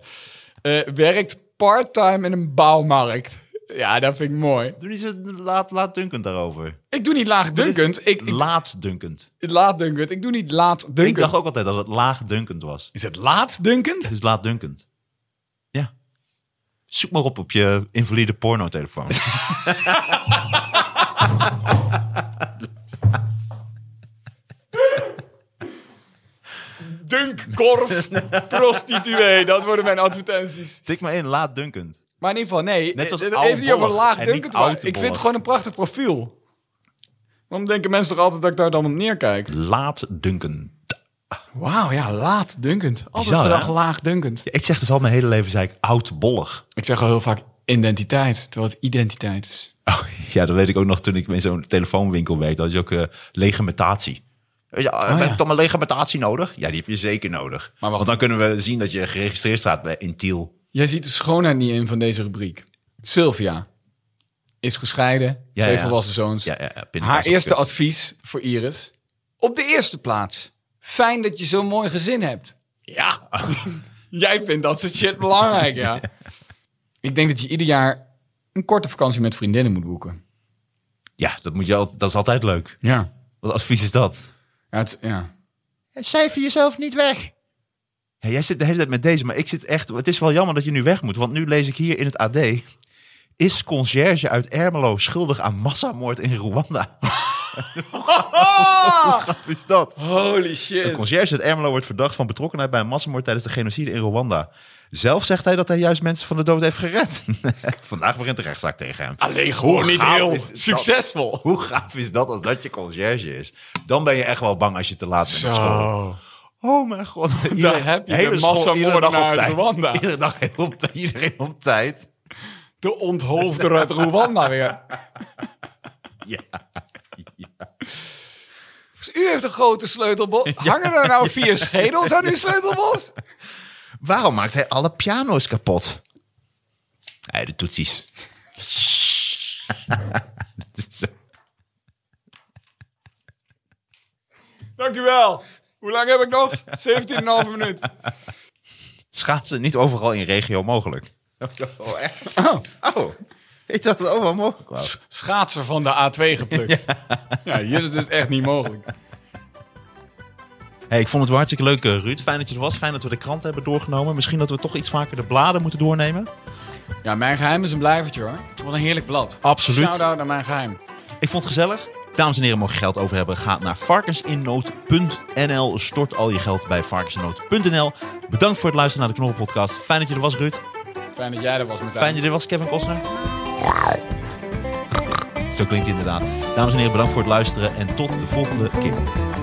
C: Eh, werkt part-time in een bouwmarkt. Ja, dat vind ik mooi.
B: Doe niet zo laat, laatdunkend daarover.
C: Ik doe niet laagdunkend. Ik, ik,
B: Laatdunkend.
C: laatdunkend. Ik doe niet
B: Ik
C: laatdunkend.
B: dacht ook altijd dat het laagdunkend was.
C: Is het
B: <laughs>
C: laatdunkend?
B: Het is laatdunkend. Ja. Zoek maar op op je invalide
C: <laughs>
B: porno-telefoon.
C: Dunkkorf, prostituee. Dat worden mijn advertenties.
B: Tik maar in, laatdunkend.
C: Maar in ieder geval, nee.
B: Net zoals
C: eh,
B: Aal
C: even niet over
B: Bollig en
C: laagdunkend.
B: niet
C: maar
B: Aal
C: Ik
B: te
C: vind het
B: Bollig.
C: gewoon een prachtig profiel. Waarom denken mensen toch altijd dat ik daar dan op neerkijk?
B: Laatdunkend.
C: Wauw, ja, laatdunkend. Altijd
B: Bizar,
C: gedacht
B: hè?
C: laagdunkend.
B: Ja, ik zeg dus al mijn hele leven, zei ik, oudbollig.
C: Ik zeg al heel vaak identiteit, terwijl het identiteit is.
B: Oh, ja, dat weet ik ook nog toen ik in zo'n telefoonwinkel werkte. had je ook eh, legemetatie. Ja, heb
C: ja.
B: ik dan mijn legemetatie nodig? Ja, die heb je zeker nodig.
C: wacht.
B: Want dan kunnen we zien dat je geregistreerd staat bij- in Tiel.
C: Jij ziet de schoonheid niet in van deze rubriek. Sylvia, is gescheiden.
B: Ja,
C: twee
B: ja.
C: volwassen zoons.
B: Ja, ja, ja, pindakaas
C: Haar
B: op de
C: eerste
B: kust.
C: advies voor Iris. Op de eerste plaats. Fijn dat je zo'n mooi gezin hebt. Ja. <laughs> Jij vindt dat soort shit belangrijk, <laughs> ja. Ik denk dat je ieder jaar een korte vakantie met vriendinnen moet boeken.
B: Ja, dat, moet je altijd, dat is altijd leuk.
C: Ja.
B: Wat advies is dat?
C: Ja, het, ja.
B: Cijfer jezelf niet weg. Ja, jij zit de hele tijd met deze, maar ik zit echt... Het is wel jammer dat je nu weg moet, want nu lees ik hier in het AD... Is conciërge uit Ermelo schuldig aan massamoord in
C: <laughs>
B: Rwanda? Hoe gaaf is dat?
C: Holy
B: Een
C: shit.
B: conciërge uit Ermelo wordt verdacht van betrokkenheid bij een massamoord tijdens de genocide in Rwanda. Zelf zegt hij dat hij juist mensen van de dood heeft gered. <laughs> Vandaag begint de rechtszaak tegen hem.
C: Alleen gewoon niet
B: gaaf
C: heel
B: is dit
C: succesvol.
B: Hoe gaaf is dat als dat je conciërge is? Dan ben je echt wel bang als je te laat bent op school.
C: Zo.
B: Oh mijn
C: <laughs>
B: god. Iedere-
C: heb je
B: hele
C: de
B: school, iedere dag op
C: massamoordenaar uit
B: tijd. <laughs>
C: Rwanda.
B: Iedere dag heel op, iedereen op tijd.
C: De onthoofde uit Rwanda weer.
B: Ja.
C: U heeft een grote <laughs> sleutelbos. Hangen er nou vier schedels <laughs> aan uw sleutelbos?
B: Waarom maakt hij alle piano's kapot? Hij de toetsies. <laughs> Dat is eh, zo-
C: Dankjewel. Hoe lang heb ik <laughs> nog? 17,5 minuut.
B: Schaatsen niet overal in regio mogelijk. Oh, echt? Oh. Ik dacht dat het overal mogelijk was.
C: Schaatsen van de A2 geplukt. <laughs> Ja, hier is het echt niet mogelijk.
B: Hey, ik vond het wel hartstikke leuk, eh, Ruud. Fijn dat je er was. Fijn dat we de krant hebben doorgenomen. Misschien dat we toch iets vaker de bladen moeten doornemen.
C: Ja, mijn geheim is een blijvertje hoor. Wat een heerlijk blad.
B: Absoluut.
C: Shout-out naar mijn geheim.
B: Ik vond het gezellig. Dames en heren, mocht je geld over hebben, ga naar varkensinnood.nl. Stort al je geld bij varkensinnood.nl. Bedankt voor het luisteren naar de Knorrelpodcast. Fijn dat je er was, Ruud.
C: Fijn dat jij er was, Martijn.
B: Fijn dat je er was, Kevin Kostner. Zo klinkt hij inderdaad. Dames en heren, bedankt voor het luisteren en tot de volgende keer.